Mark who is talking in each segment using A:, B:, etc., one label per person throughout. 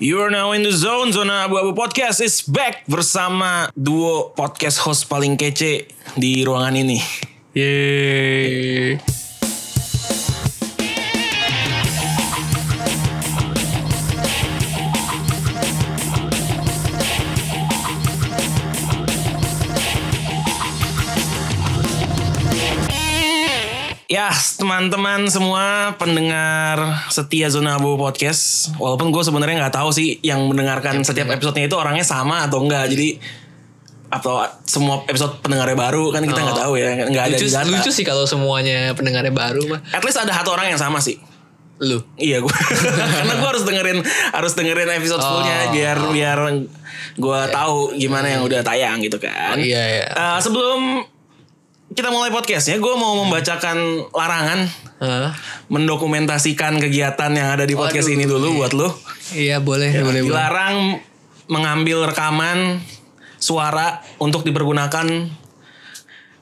A: You are now in the zone Zona Abu-Abu Podcast is back Bersama duo podcast host paling kece Di ruangan ini
B: Yeay.
A: Ya teman-teman semua pendengar setia Zona Abu Podcast Walaupun gue sebenarnya nggak tahu sih Yang mendengarkan
B: Iya,
A: setiap episodenya itu orangnya sama atau enggak Jadi atau semua episode pendengarnya baru kan kita nggak tahu ya nggak ada
B: Oh. Lucu,
A: di data.
B: lucu sih kalau semuanya pendengarnya baru mah.
A: At least ada satu orang yang sama sih.
B: Lu.
A: Iya gue karena gue harus dengerin harus dengerin episode sebelumnya
B: Oh.
A: biar biar gue tahu gimana yang udah tayang gitu kan.
B: Hmm. Iya ya.
A: Eh, sebelum kita mulai podcastnya, gue mau
B: Hmm.
A: membacakan larangan
B: Hah?
A: mendokumentasikan kegiatan yang ada di podcast ini dulu buat lo.
B: Iya boleh
A: Ya,
B: boleh boleh.
A: Dilarang mengambil rekaman suara untuk dipergunakan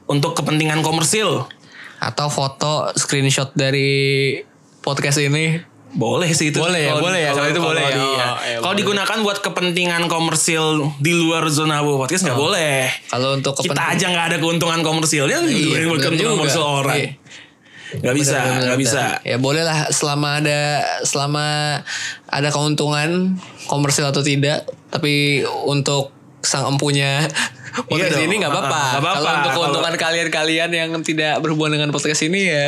A: untuk kepentingan komersil.
B: Atau foto screenshot dari podcast ini.
A: Boleh sih itu.
B: Boleh ya,
A: Kalau-
B: boleh ya,
A: kalau-
B: kalau itu
A: kalau
B: boleh ya.
A: di-
B: Oh,
A: ya.
B: iya,
A: Kalau
B: boleh.
A: digunakan buat kepentingan komersil di luar zona abu podcast
B: Oh.
A: nggak boleh.
B: Kalau untuk
A: Kita
B: kepentingan-
A: aja nggak ada keuntungan komersilnya, iya,
B: bener
A: buat keuntungan
B: juga.
A: komersil orang.
B: Iya.
A: Nggak bisa,
B: Benar, benar,
A: nggak
B: benar.
A: bisa.
B: Ya boleh lah selama ada selama ada keuntungan komersil atau tidak, tapi untuk sang empunya podcast
A: Iya dong.
B: ini nggak apa-apa.
A: Ah, nggak apa-apa.
B: Kalau untuk
A: Kalau-
B: keuntungan kalian-kalian yang tidak berhubungan dengan podcast ini ya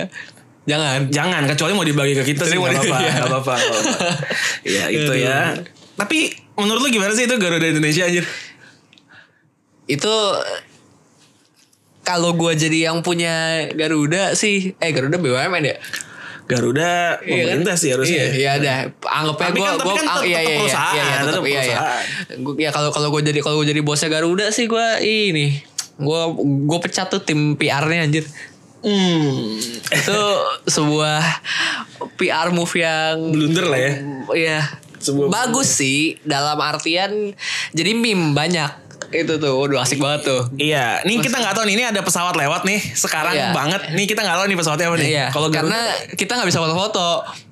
B: jangan.
A: Jangan, kecuali mau dibagi ke kita sih
B: Kecuali
A: nggak
B: mau
A: apa-apa,
B: di- iya.
A: nggak apa-apa. nggak apa-apa. Ya itu ya. Tapi menurut lu gimana sih itu Garuda Indonesia anjir?
B: Itu kalau gua jadi yang punya Garuda sih, eh Garuda BUMN ya.
A: Garuda
B: Iya kan?
A: pemerintah sih harusnya.
B: Iya, iya dah. Anggapnya
A: Tapi
B: gue
A: kan- tapi
B: gue
A: kan tetap
B: iya iya iya
A: perusahaan,
B: iya iya, tetap
A: tetap
B: iya iya. Gua- ya kalau kalau gue jadi kalau gue jadi bosnya Garuda sih gue ini gue gue pecat tuh tim PR-nya anjir.
A: Hmm,
B: Itu sebuah PR move yang
A: blunder lah ya.
B: Iya.
A: Sebuah-
B: bagus sih dalam artian jadi meme banyak. Itu tuh, waduh asik banget tuh.
A: Iya, nih kita nggak tahu nih ini ada pesawat lewat nih sekarang
B: Iya.
A: banget. Nih kita nggak tahu nih pesawatnya apa nih.
B: Iya,
A: Kalau
B: karena
A: Garuda-
B: kita nggak bisa foto-foto.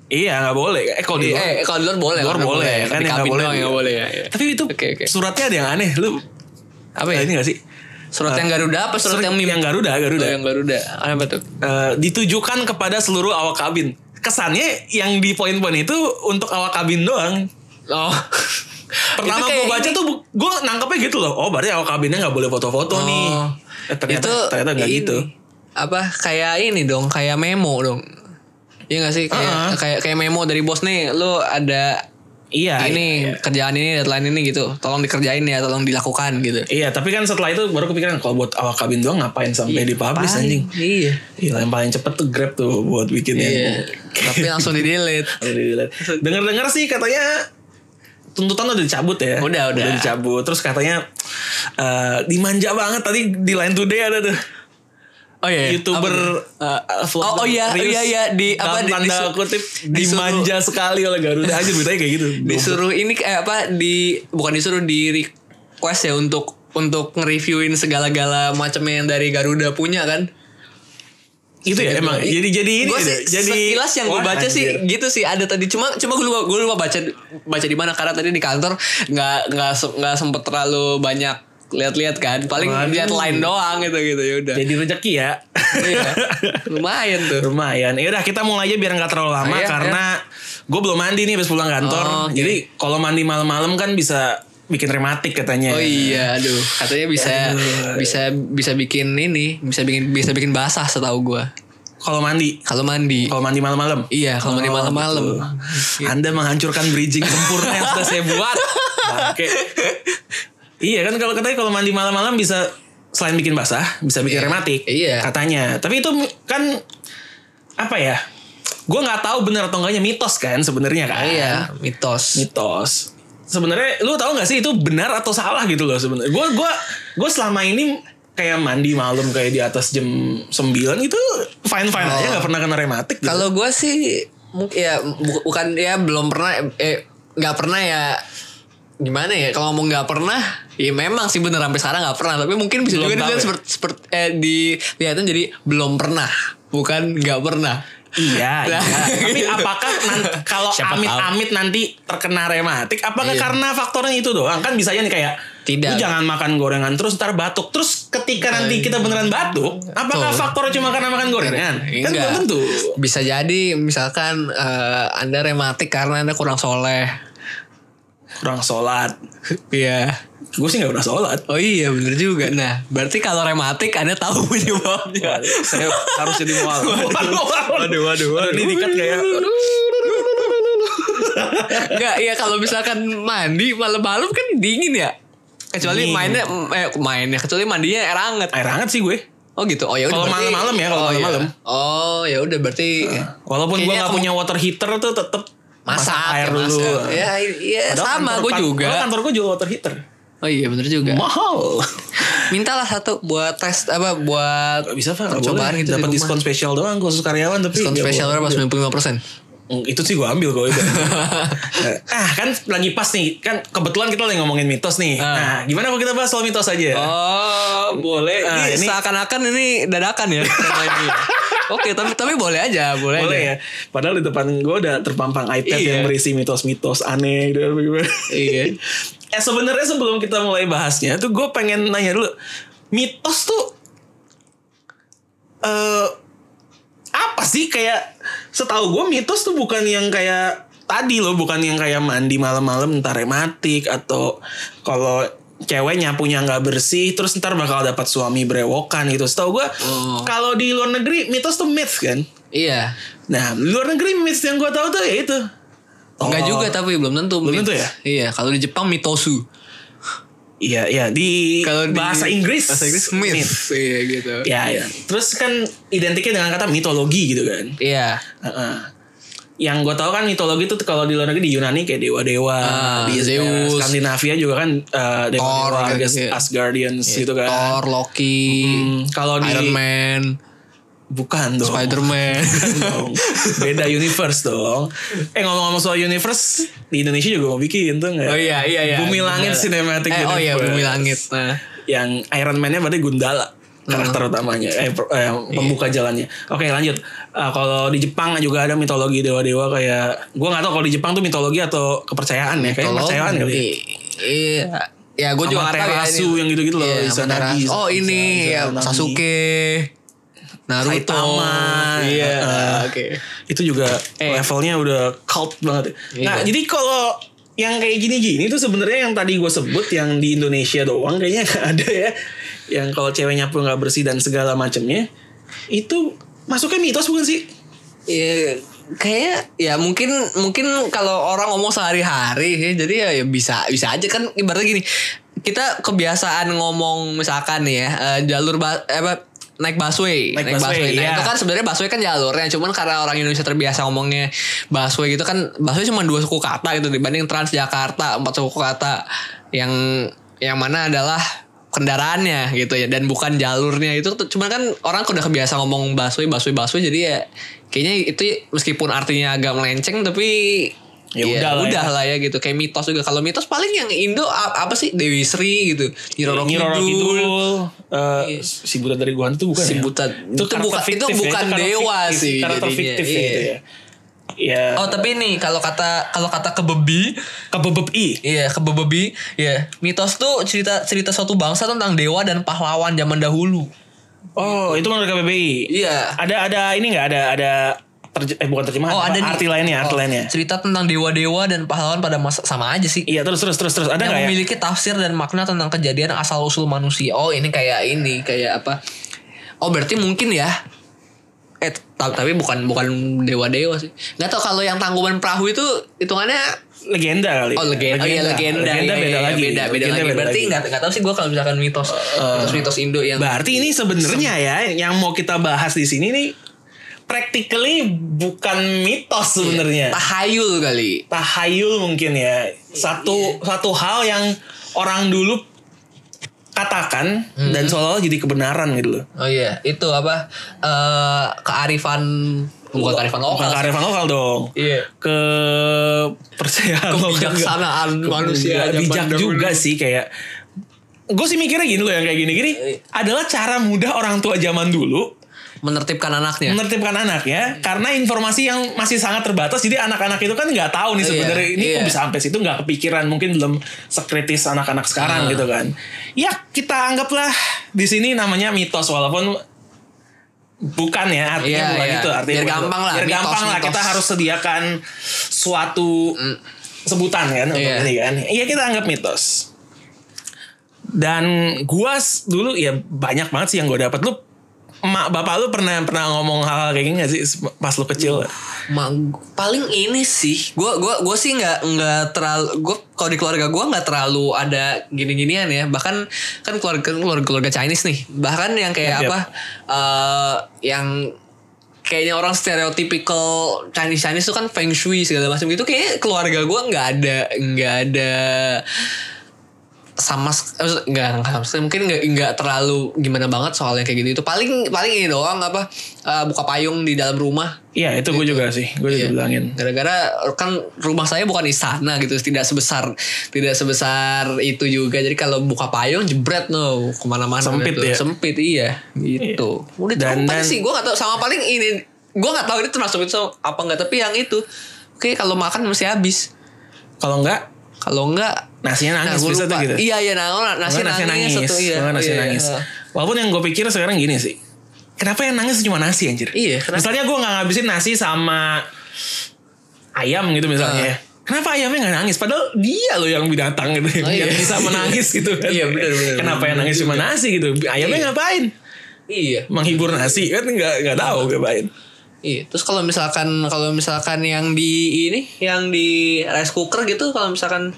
A: iya nggak boleh. Eh kalau di
B: Di-
A: luar-
B: eh, kalau di luar boleh,
A: luar boleh, kan yang
B: Di
A: nggak
B: kabin
A: boleh di-
B: doang yang nggak boleh ya. iya.
A: Tapi itu
B: Oke, oke.
A: suratnya ada yang aneh. Lu
B: Apa ya?
A: ada ini gak sih?
B: Surat yang Garuda apa surat, yang meme?
A: Yang Garuda, Garuda.
B: Oh, yang Garuda. Apa tuh?
A: Eh, ditujukan kepada seluruh awak kabin. Kesannya yang di poin-poin itu untuk awak kabin doang.
B: Oh.
A: Pertama gue baca tuh gue nangkepnya gitu loh. Oh berarti awak kabinnya nggak boleh foto-foto nih.
B: Oh.
A: Eh, ternyata ternyata nggak gitu.
B: Apa kayak ini dong, kayak memo dong. Iya gak sih? Kayak,
A: Uh-uh.
B: kayak kayak memo dari bos nih, lu ada
A: Iya.
B: ini
A: iya.
B: kerjaan ini deadline ini gitu. Tolong dikerjain ya, tolong dilakukan gitu.
A: Iya, tapi kan setelah itu baru kepikiran kalau buat awak kabin doang ngapain sampai dipublish
B: Apaan?
A: anjing.
B: Iya.
A: Gila, yang paling cepet tuh Grab tuh buat bikinnya.
B: Iya. Tapi langsung di delete.
A: Dengar-dengar sih katanya tuntutan udah dicabut ya.
B: Udah, udah.
A: dicabut. Terus katanya eh, dimanja banget tadi di Line Today ada tuh.
B: Oh iya.
A: YouTuber eh, vlogger
B: Oh, oh iya,
A: Reels
B: iya, iya. Di-
A: dalam
B: apa, di-
A: tanda
B: disu-
A: kutip
B: disuruh-
A: dimanja sekali oleh Garuda. Anjir beritanya kayak gitu.
B: disuruh ini kayak apa di bukan disuruh di request ya untuk untuk nge-reviewin segala-gala macamnya yang dari Garuda punya kan?
A: Itu ya emang. Jadi jadi ini.
B: Gue
A: ya,
B: Iya. sih
A: jadi oh,
B: sekilas yang gue
A: Wah,
B: baca sih
A: anjir.
B: gitu sih ada tadi cuma cuma gue lupa gue lupa baca baca di mana karena tadi di kantor nggak nggak se- nggak sempet terlalu banyak lihat-lihat kan paling
A: Waduh.
B: lihat line doang gitu gitu ya udah
A: Jadi rezeki ya.
B: Iya. lumayan tuh
A: Lumayan. Ya udah kita mulai aja biar nggak terlalu lama
B: Ah, iya,
A: karena gue belum mandi nih habis pulang kantor.
B: Oh, oke.
A: Jadi kalau mandi malam-malam kan bisa bikin rematik katanya. ya.
B: oh iya aduh katanya bisa
A: Iya, Aduh.
B: bisa bisa bikin ini bisa bikin bisa bikin basah setahu gue
A: Kalau mandi,
B: kalau mandi
A: kalau mandi malam-malam.
B: Iya, kalau mandi
A: Oh,
B: malam-malam.
A: gitu. Anda menghancurkan bridging sempurna yang sudah saya buat. Bangke. Iya kan kalau katanya kalau mandi malam-malam bisa selain bikin basah, bisa bikin
B: Iya.
A: rematik.
B: Iya.
A: Katanya. Tapi itu kan apa ya? Gue nggak tahu benar atau enggaknya mitos kan sebenarnya kan.
B: Iya, mitos.
A: mitos sebenarnya lu tahu nggak sih itu benar atau salah gitu loh sebenarnya gue gua gua selama ini kayak mandi malam kayak di atas jam 9 itu fine fine aja nggak pernah kena rematik gitu.
B: Oh. Kalau gue sih mu- ya bu- bukan ya belum pernah eh nggak pernah ya gimana ya kalau ngomong nggak pernah ya memang sih bener sampai sekarang nggak pernah tapi mungkin bisa
A: Belum
B: juga
A: tahu
B: dilihat
A: ya?
B: seperti seperti eh dilihatin jadi belum pernah bukan nggak pernah
A: Iya,
B: Nah,
A: iya. Tapi
B: gitu.
A: apakah nan- kalau
C: Siapa
A: amit-amit nanti terkena rematik, apakah
B: Iya.
A: karena faktornya itu doang? Kan bisa aja nih kayak Lu
B: Tidak. Iya,
A: jangan makan gorengan terus ntar batuk. Terus ketika nanti kita beneran batuk, apakah
B: Betul. Iya.
A: faktornya cuma karena makan gorengan? Kan belum tentu.
B: Bisa jadi misalkan eh, Anda rematik karena Anda kurang soleh.
A: Kurang sholat.
B: Iya.
A: Gue sih gak pernah sholat.
B: Oh iya bener juga. Nah berarti kalau rematik Anda tahu penyebabnya.
A: Saya harus jadi mual. Iya. Waduh,
B: Waduh, waduh, waduh.
A: Ini dikat kayak
B: Enggak ya kalau misalkan mandi malam-malam kan dingin ya. Kecuali
A: Dingin.
B: mainnya eh, mainnya kecuali mandinya air hangat.
A: air hangat sih gue.
B: Oh gitu. Oh ya udah
A: Kalau
B: berarti-
A: malam-malam ya, kalau
B: oh, iya.
A: malam-malam. Eh,
B: Oh ya udah berarti
A: Walaupun gue
B: Kayaknya
A: gak
B: aku-
A: punya water heater tuh tetep
B: masak,
A: air
B: ya,
A: dulu.
B: masak. Ya, iya,
A: Padahal
B: sama
A: kantor-
B: gue
A: pan-
B: juga.
A: padahal kan- kantor gue jual water heater.
B: Oh iya bener juga.
A: Mahal.
B: Mintalah satu buat tes apa buat
A: Gak bisa Pak, gak
B: percobaan
A: boleh.
B: gitu
A: Dapat
B: di rumah.
A: diskon spesial doang khusus karyawan tapi
B: Diskon
A: nggak
B: spesial
A: boleh.
B: berapa? 95
A: Hmm, Itu sih gue ambil kok itu. ah kan lagi pas nih kan kebetulan kita lagi ngomongin mitos nih. Nah gimana kalau kita bahas soal mitos aja?
B: Ah. Oh boleh.
A: Ah,
B: ini,
A: ini-
B: seakan-akan ini dadakan ya. tema ini. Oke tapi tapi boleh aja boleh.
A: Boleh
B: aja.
A: ya. Padahal di depan gue udah terpampang iPad
B: Iya.
A: yang berisi mitos-mitos aneh gitu.
B: Iya.
A: eh sebenarnya sebelum kita mulai bahasnya tuh gue pengen nanya dulu mitos tuh eh apa sih kayak setahu gue mitos tuh bukan yang kayak tadi loh bukan yang kayak mandi malam-malam ntar rematik atau kalau cewek nyapunya nggak bersih terus ntar bakal dapat suami brewokan gitu setahu gue
B: Oh.
A: kalau di luar negeri mitos tuh myth kan
B: Iya.
A: nah di luar negeri myth yang gue tahu tuh ya itu
B: Enggak
A: Oh.
B: juga tapi belum tentu.
A: Belum tentu ya?
B: Iya kalau di Jepang mitosu.
A: Iya iya di
B: Kalau di-
A: bahasa Inggris
B: Bahasa Inggris myth. Iya gitu.
A: Ya, ya. Terus kan identiknya dengan kata mitologi gitu kan.
B: Iya.
A: Heeh. Yang gue tahu kan mitologi itu kalau di luar negeri di Yunani kayak dewa-dewa,
B: Ah,
A: di eh,
B: Zeus.
A: Skandinavia juga kan eh, dewa-dewa
B: Thor,
A: Gas-
B: gitu.
A: Asgardians gitu kan.
B: Thor, Loki,
A: Hmm, kalau di
B: Iron Man,
A: bukan dong.
B: Spider-Man.
A: Bukan dong. Beda universe dong. Eh ngomong-ngomong soal universe di Indonesia juga mau bikin tuh nggak?
B: Oh iya iya iya.
A: Bumi Langit Cinematic
B: eh, Oh iya
A: Universe.
B: Bumi Langit. Nah.
A: yang Iron Man-nya berarti Gundala karakter utamanya eh, per- eh, pembuka jalannya. Oke, lanjut. Eh, kalau di Jepang juga ada mitologi dewa-dewa kayak gua nggak tahu kalau di Jepang tuh mitologi atau kepercayaan ya, kayak kepercayaan kali. ya.
B: Iya. Ya gue juga nggak tahu ya
A: Amaterasu
B: ini.
A: yang gitu-gitu loh,
B: Iya,
A: Izanagi,
B: Amaterasu. Oh ini ya
A: Izanagi.
B: Sasuke. Naruto.
A: Saitama.
B: Iya.
A: Heeh.
B: Oke.
A: Itu juga levelnya udah cult banget. ya. Nah,
B: Iya.
A: jadi kalau yang kayak gini-gini tuh sebenarnya yang tadi gue sebut yang di Indonesia doang kayaknya nggak ada ya. Yang kalau ceweknya pun nggak bersih dan segala macemnya itu masuknya mitos bukan sih?
B: Iya. Kayaknya ya mungkin mungkin kalau orang ngomong sehari-hari ya, jadi ya, ya bisa bisa aja kan ibaratnya gini kita kebiasaan ngomong misalkan nih ya eh, jalur ba- eh, apa naik busway
A: Naik busway, iya.
B: Nah, itu kan sebenarnya busway kan jalurnya cuman karena orang Indonesia terbiasa ngomongnya busway gitu kan busway cuma dua suku kata gitu dibanding Transjakarta empat suku kata yang yang mana adalah kendaraannya gitu ya dan bukan jalurnya itu tuh- cuman kan orang udah kebiasa ngomong busway busway busway jadi ya kayaknya itu ya, meskipun artinya agak melenceng tapi
A: Ya udahlah ya.
B: lah ya gitu kayak mitos juga kalau mitos paling yang Indo a- apa sih Dewi Sri gitu Nyi Roro
A: Nyi Roro
B: Kidul.
A: Iya, Kidul, eh, si buta dari gua hantu bukan
B: gitu. Iya. Si
A: ya?
B: Buta. Itu
A: karakter
B: bukan- itu
A: fiktif ya,
B: bukan
A: karakter
B: dewa
A: fiktif,
B: sih
A: karakter
B: jadinya,
A: fiktif ya
B: iya.
A: itu ya ya
B: Oh tapi nih kalau kata kalau kata kebebi,
A: kebebep i
B: iya kebebebi, iya mitos tuh cerita cerita suatu bangsa tentang dewa dan pahlawan zaman dahulu.
A: oh itu menurut KBBI
B: Iya.
A: ada ada ini nggak ada ada terje- eh bukan terjemahan
B: Oh
A: apa?
B: ada nih.
A: arti lainnya arti
B: Oh,
A: lainnya
B: Cerita tentang dewa-dewa dan pahlawan pada masa sama aja sih.
A: iya terus terus terus terus ada
B: yang
A: nggak ya
B: memiliki tafsir dan makna tentang kejadian asal usul manusia. Oh ini kayak ini kayak apa? Oh berarti mungkin ya. Eh ta- tapi bukan bukan dewa dewa sih. Nggak tau kalau yang tangkuban perahu itu hitungannya
A: legenda kali
B: Oh legenda, oh iya
A: legenda
B: legenda,
A: beda
B: Iya, iya, iya,
A: lagi
B: beda, beda lagi. Berarti
A: lagi. Eh,
B: nggak nggak tahu sih gue kalau misalkan mitos, mitos mitos Indo yang
A: Berarti ini sebenarnya ya yang mau kita bahas di sini nih practically bukan mitos sebenarnya.
B: Iya, tahayul kali.
A: tahayul mungkin
B: Iya.
A: ya satu satu hal yang orang dulu katakan
B: Hmm.
A: dan seolah-olah jadi kebenaran gitu loh
B: Oh iya, itu apa eh kearifan bukan kearifan
A: Oh, bukan
B: lokal. sih.
A: kearifan lokal dong
B: Oh. Iya.
A: ke percayaan lokal juga.
B: Kebijaksanaan manusia
A: Nggak
B: zaman
A: bijak
B: dahulu.
A: juga sih kayak
B: Iya.
A: gue sih mikirnya gini loh yang kayak gini-gini adalah cara mudah orang tua zaman dulu
B: menertibkan anaknya.
A: menertibkan anak ya
B: Hmm.
A: karena informasi yang masih sangat terbatas jadi anak-anak itu kan nggak tahu nih
B: Iya,
A: sebenarnya ini kok
B: iya.
A: bisa sampai situ nggak kepikiran mungkin belum sekritis anak-anak sekarang
B: Hmm.
A: gitu kan ya kita anggaplah di sini namanya mitos walaupun bukan ya artinya
B: Iya,
A: bukan
B: iya.
A: itu artinya bukan
B: Biar
A: itu.
B: gampang lah,
A: biar
B: mitos,
A: gampang lah
B: mitos.
A: kita harus sediakan suatu sebutan kan untuk
B: Mm. Iya.
A: ini kan iya kita anggap mitos dan gua s- dulu ya banyak banget sih yang gua dapat lu emak bapak lu pernah pernah ngomong hal, -hal kayak gini gak sih se- pas lu kecil
B: Mm. Ma- paling ini sih gue gua gua sih nggak nggak terlalu gue kalau di keluarga gue nggak terlalu ada gini-ginian ya bahkan kan keluarga keluarga keluarga Chinese nih bahkan yang
A: Yap,
B: kayak
A: yap.
B: apa eh, yang kayaknya orang stereotypical Chinese Chinese tuh kan feng shui segala macam gitu kayak keluarga gue nggak ada nggak ada sama sek- eh, maksud- nggak nggak sama sekali. mungkin nggak nggak terlalu gimana banget soalnya kayak gitu itu paling paling ini doang apa eh, buka payung di dalam rumah
A: iya itu gue juga sih gue juga
B: Iya.
A: bilangin
B: gara-gara kan rumah saya bukan istana gitu tidak sebesar tidak sebesar itu juga jadi kalau buka payung jebret no kemana-mana
A: Sempit
B: gitu.
A: ya?
B: sempit iya gitu udah
A: Dan-
B: dan,
A: dan-
B: sih gue gak tau sama paling ini gue gak tahu ini termasuk itu apa nggak tapi yang itu oke kalau makan mesti habis
A: kalau enggak
B: kalau enggak
A: nasinya nangis
B: gua
A: bisa
B: lupa.
A: tuh gitu
B: iya iya nah, nah, nasi,
A: Bahkan
B: nangis, satu iya
A: bahkan nasi
B: iya,
A: nangis
B: iya.
A: walaupun yang gue pikir sekarang gini sih kenapa yang nangis cuma nasi anjir
B: Iya, kenapa?
A: misalnya gue nggak ngabisin nasi sama ayam gitu misalnya ya. Kenapa ayamnya gak nangis? Padahal dia loh yang binatang gitu.
B: Oh, iya.
A: Yang bisa menangis gitu kan.
B: Iya, benar, benar,
A: Kenapa yang nangis cuma nasi gitu? Ayamnya ngapain?
B: iya
A: Menghibur nasi kan nggak nggak tahu ngapain.
B: Iya, terus kalau misalkan kalau misalkan yang di ini yang di rice cooker gitu kalau misalkan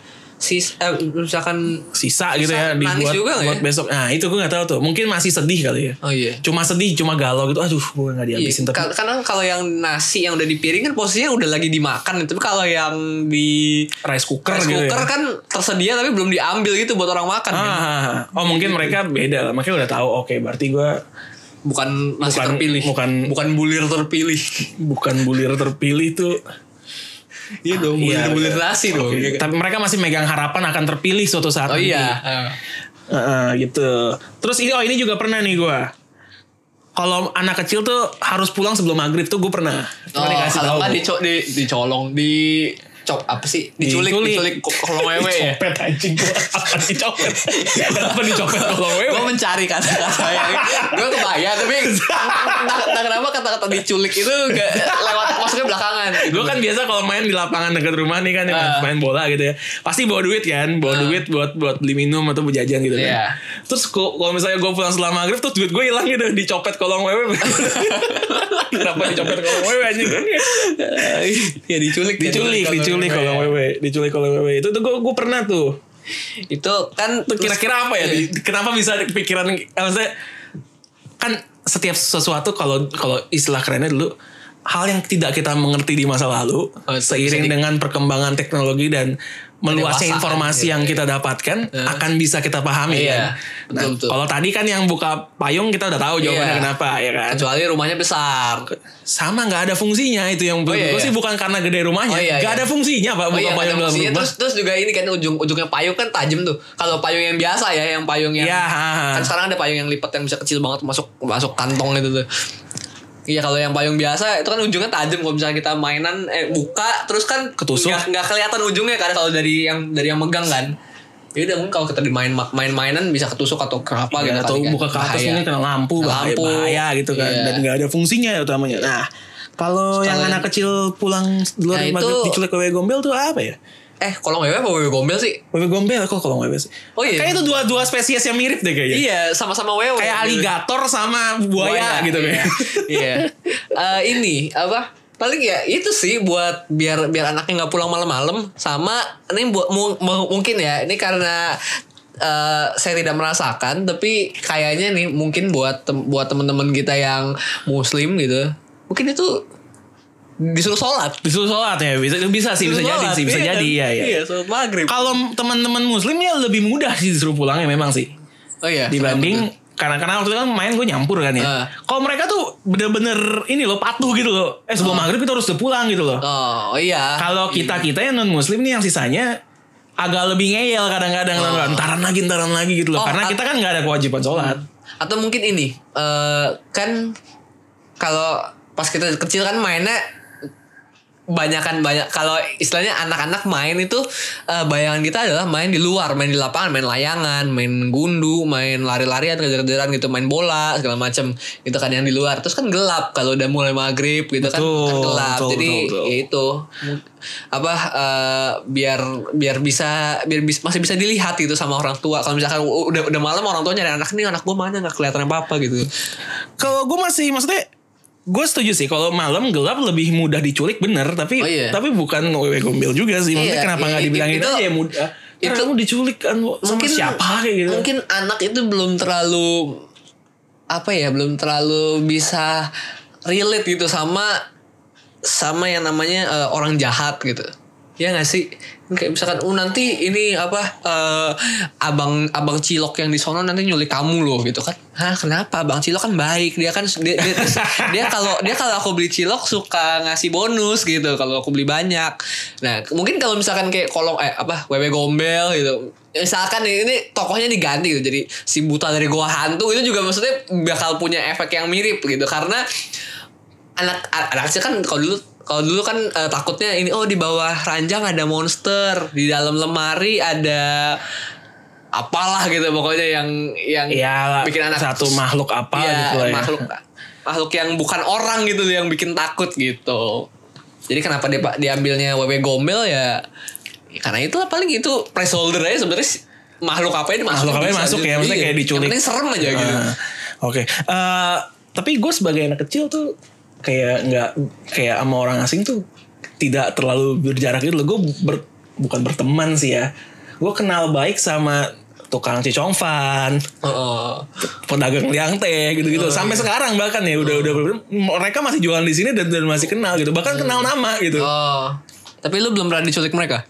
B: si eh, misalkan
A: Sisa gitu ya
B: Sisa,
A: dibuat
B: nangis juga nggak
A: buat
B: ya?
A: besok. Nah itu gue nggak tahu tuh. Mungkin masih sedih kali ya.
B: oh iya.
A: Cuma sedih, cuma galau gitu. Aduh, gue nggak dihabisin. Tapi
B: Iya, kar- karena kalau yang nasi yang udah di piring kan posisinya udah lagi dimakan tapi kalau yang di
A: rice cooker,
B: rice
A: gitu
B: cooker
A: ya.
B: kan tersedia tapi belum diambil gitu buat orang makan kan.
A: Ah, oh mungkin mereka beda lah. Makanya udah tahu. Oke, berarti gue
B: bukan nasi
A: Bukan-
B: terpilih
A: bukan-
B: bukan bulir terpilih
A: bukan bulir terpilih tuh.
B: iya dong bulir
A: Iya,
B: bulir
A: iya.
B: nasi dong
A: Oke.
B: iya kan?
A: Tapi mereka masih megang harapan akan terpilih suatu saat.
B: oh
A: nanti.
B: iya
A: Ah. Heeh, gitu. Terus ini oh ini juga pernah nih gue. Kalau anak kecil tuh harus pulang sebelum maghrib tuh gue pernah.
B: Oh,
A: Cuma dikasih
B: kalau
A: tahu.
B: nggak dico- di, dicolong, di cop apa sih? Diculik,
A: Diculik.
B: diculik, ko- kolong wewe ya.
A: Dicopet anjing gue. Apa dicopet? Kenapa dicopet kalau wewe?
B: Gue mencari kata-kata yang gue kebayang tapi entah, entah kenapa kata-kata diculik itu gak lewat maksudnya belakangan. Gitu.
A: Gue kan biasa kalau main di lapangan dekat rumah nih kan yang main bola gitu ya. Pasti bawa duit kan, bawa duit buat buat beli minum atau buat jajan gitu kan.
B: Iya.
A: Terus ku- kalau misalnya gue pulang setelah maghrib terus duit gue hilang gitu dicopet kolong wewe. Kenapa dicopet kolong wewe anjing?
B: ya diculik,
A: diculik, diculik kolong wewe, diculik kolong wewe. Itu tuh gue gue pernah tuh.
B: Itu kan
A: Itu kira-kira apa ya? Di- Kenapa bisa pikiran eh, maksudnya kan setiap sesuatu kalau kalau istilah kerennya dulu hal yang tidak kita mengerti di masa lalu
B: Oh, itu
A: seiring
B: bisa di-
A: dengan perkembangan teknologi dan meluasnya
B: Kedewasaan,
A: informasi
B: iya,
A: yang kita dapatkan akan bisa kita pahami kan.
B: Iya,
A: Nah,
B: betul-betul.
A: kalau tadi kan yang buka payung kita udah tahu jawabannya
B: Iya.
A: kenapa ya kan.
B: kecuali rumahnya besar.
A: Oh, Sama nggak ada fungsinya itu yang
B: Oh, iya,
A: gue
B: iya.
A: sih bukan karena gede rumahnya,
B: Oh,
A: nggak
B: iya, iya.
A: ada fungsinya Pak buka
B: Oh iya, nggak
A: payung
B: ada
A: dalam
B: fungsinya.
A: rumah.
B: terus terus juga ini kan ujung ujungnya payung kan tajam tuh. Kalau payung yang biasa ya, yang payung yang
A: Iya, ha, ha.
B: kan sekarang ada payung yang lipat yang bisa kecil banget masuk masuk kantong itu tuh. Iya kalau yang payung biasa itu kan ujungnya tajam kalau misalnya kita mainan eh, buka terus kan
A: Ketusuk.
B: nggak nggak kelihatan ujungnya kan kalau dari yang dari yang megang kan. Ya udah mungkin kalau kita dimain main mainan bisa ketusuk atau kenapa
A: Iya,
B: gitu
A: atau
B: kali kan.
A: buka ke atas
B: Bahaya.
A: mungkin kena lampu,
B: Kena
A: bahaya,
B: lampu.
A: bahaya gitu kan
B: Iya.
A: dan nggak ada fungsinya utamanya nah kalau yang
B: Sekalian-
A: anak kecil pulang di luar
B: Nah,
A: rumah
B: itu-
A: diculik wewe gombel tuh apa ya
B: Eh kolong wewe apa wewe gombel sih?
A: wewe gombel kok kalau wewe sih
B: Oh, iya.
A: kayak itu dua dua spesies yang mirip deh kayaknya
B: Iya sama-sama wewe.
A: kayak aligator sama buaya, gitu
B: iya.
A: kayak
B: Iya. Eh, ini apa? Paling ya itu sih buat biar biar anaknya nggak pulang malam-malam sama ini buat mu- mu- mungkin ya ini karena eh, saya tidak merasakan tapi kayaknya nih mungkin buat tem- buat teman-teman kita yang muslim gitu mungkin itu disuruh sholat
A: disuruh sholat ya bisa bisa sih bisa
B: Disuruh
A: jadi
B: sholat,
A: sih bisa
B: iya
A: jadi
B: kan?
A: ya ya
B: iya sholat maghrib
A: kalau teman-teman muslim ya lebih mudah sih disuruh pulangnya memang sih
B: oh iya
A: dibanding karena karena waktu itu kan main gue nyampur kan ya.
B: Ah.
A: Kalau mereka tuh bener-bener ini loh patuh gitu loh. Eh sebelum maghrib kita harus udah pulang gitu loh.
B: oh Ah. iya
A: Kalau kita kita yang non muslim nih yang sisanya agak lebih ngeyel kadang-kadang Ntar ntaran lagi ntaran lagi gitu loh.
B: Ah. Oh,
A: karena
B: at-
A: kita kan nggak ada kewajiban sholat.
B: atau mungkin ini eh kan kalau pas kita kecil kan mainnya banyakan banyak kalau istilahnya anak-anak main itu eh, bayangan kita adalah main di luar main di lapangan main layangan main gundu main lari-larian kejar-kejaran gitu main bola segala macem gitu kan yang di luar terus kan gelap kalau udah mulai maghrib gitu kan,
A: Betul,
B: kan gelap
A: betul,
B: jadi
A: betul, betul.
B: ya itu Mu- apa eh, biar biar bisa biar bis- masih bisa dilihat gitu sama orang tua kalau misalkan u- udah udah malam orang tua nyari anak nih anak gue mana nggak kelihatan apa apa gitu
A: Kalau gue masih maksudnya gue setuju sih kalau malam gelap lebih mudah diculik bener tapi
B: Oh, iya.
A: tapi bukan wewe gombel juga sih maksudnya
B: Iya,
A: kenapa
B: iya,
A: nggak
B: itu-
A: dibilangin
B: itu-
A: aja ya mudah itu kamu diculik kan sama siapa kayak gitu
B: mungkin anak itu belum terlalu apa ya belum terlalu bisa relate gitu sama sama yang namanya eh, orang jahat gitu ya nggak sih kayak misalkan oh nanti ini apa eh, abang abang cilok yang di sono nanti nyulik kamu loh gitu kan hah kenapa abang cilok kan baik dia kan dia dia, dia kalau dia kalau aku beli cilok suka ngasih bonus gitu kalau aku beli banyak nah mungkin kalau misalkan kayak kolong eh apa wewe gombel gitu misalkan nih, ini tokohnya diganti gitu jadi si buta dari goa hantu itu juga maksudnya bakal punya efek yang mirip gitu karena anak anak kecil kan kalau dulu kalau dulu kan eh, takutnya ini oh di bawah ranjang ada monster di dalam lemari ada apalah gitu pokoknya yang yang
A: ya
B: bikin anak
A: satu makhluk apa
B: Iya,
A: gitu lah ya
B: makhluk makhluk yang bukan orang gitu yang bikin takut gitu jadi kenapa dia diambilnya wewe gombel ya ya karena itulah paling itu placeholder aja sebenarnya si- makhluk apa ini
A: Makhluk apanya masuk ya, maksudnya kayak diculik.
B: yang penting iya, serem aja gitu
A: Ah, Oke. Eh, tapi gue sebagai anak kecil tuh kayak nggak kayak sama orang asing tuh tidak terlalu berjarak gitu. Gue ber- bukan berteman sih ya. Gue kenal baik sama tukang cicongfan,
B: Heeh.
A: pedagang liang teh gitu-gitu.
B: Oh.
A: Sampai sekarang bahkan ya udah udah mereka masih jualan di sini dan, dan masih kenal gitu. Bahkan kenal nama gitu.
B: Hmm. oh tapi lu belum pernah diculik mereka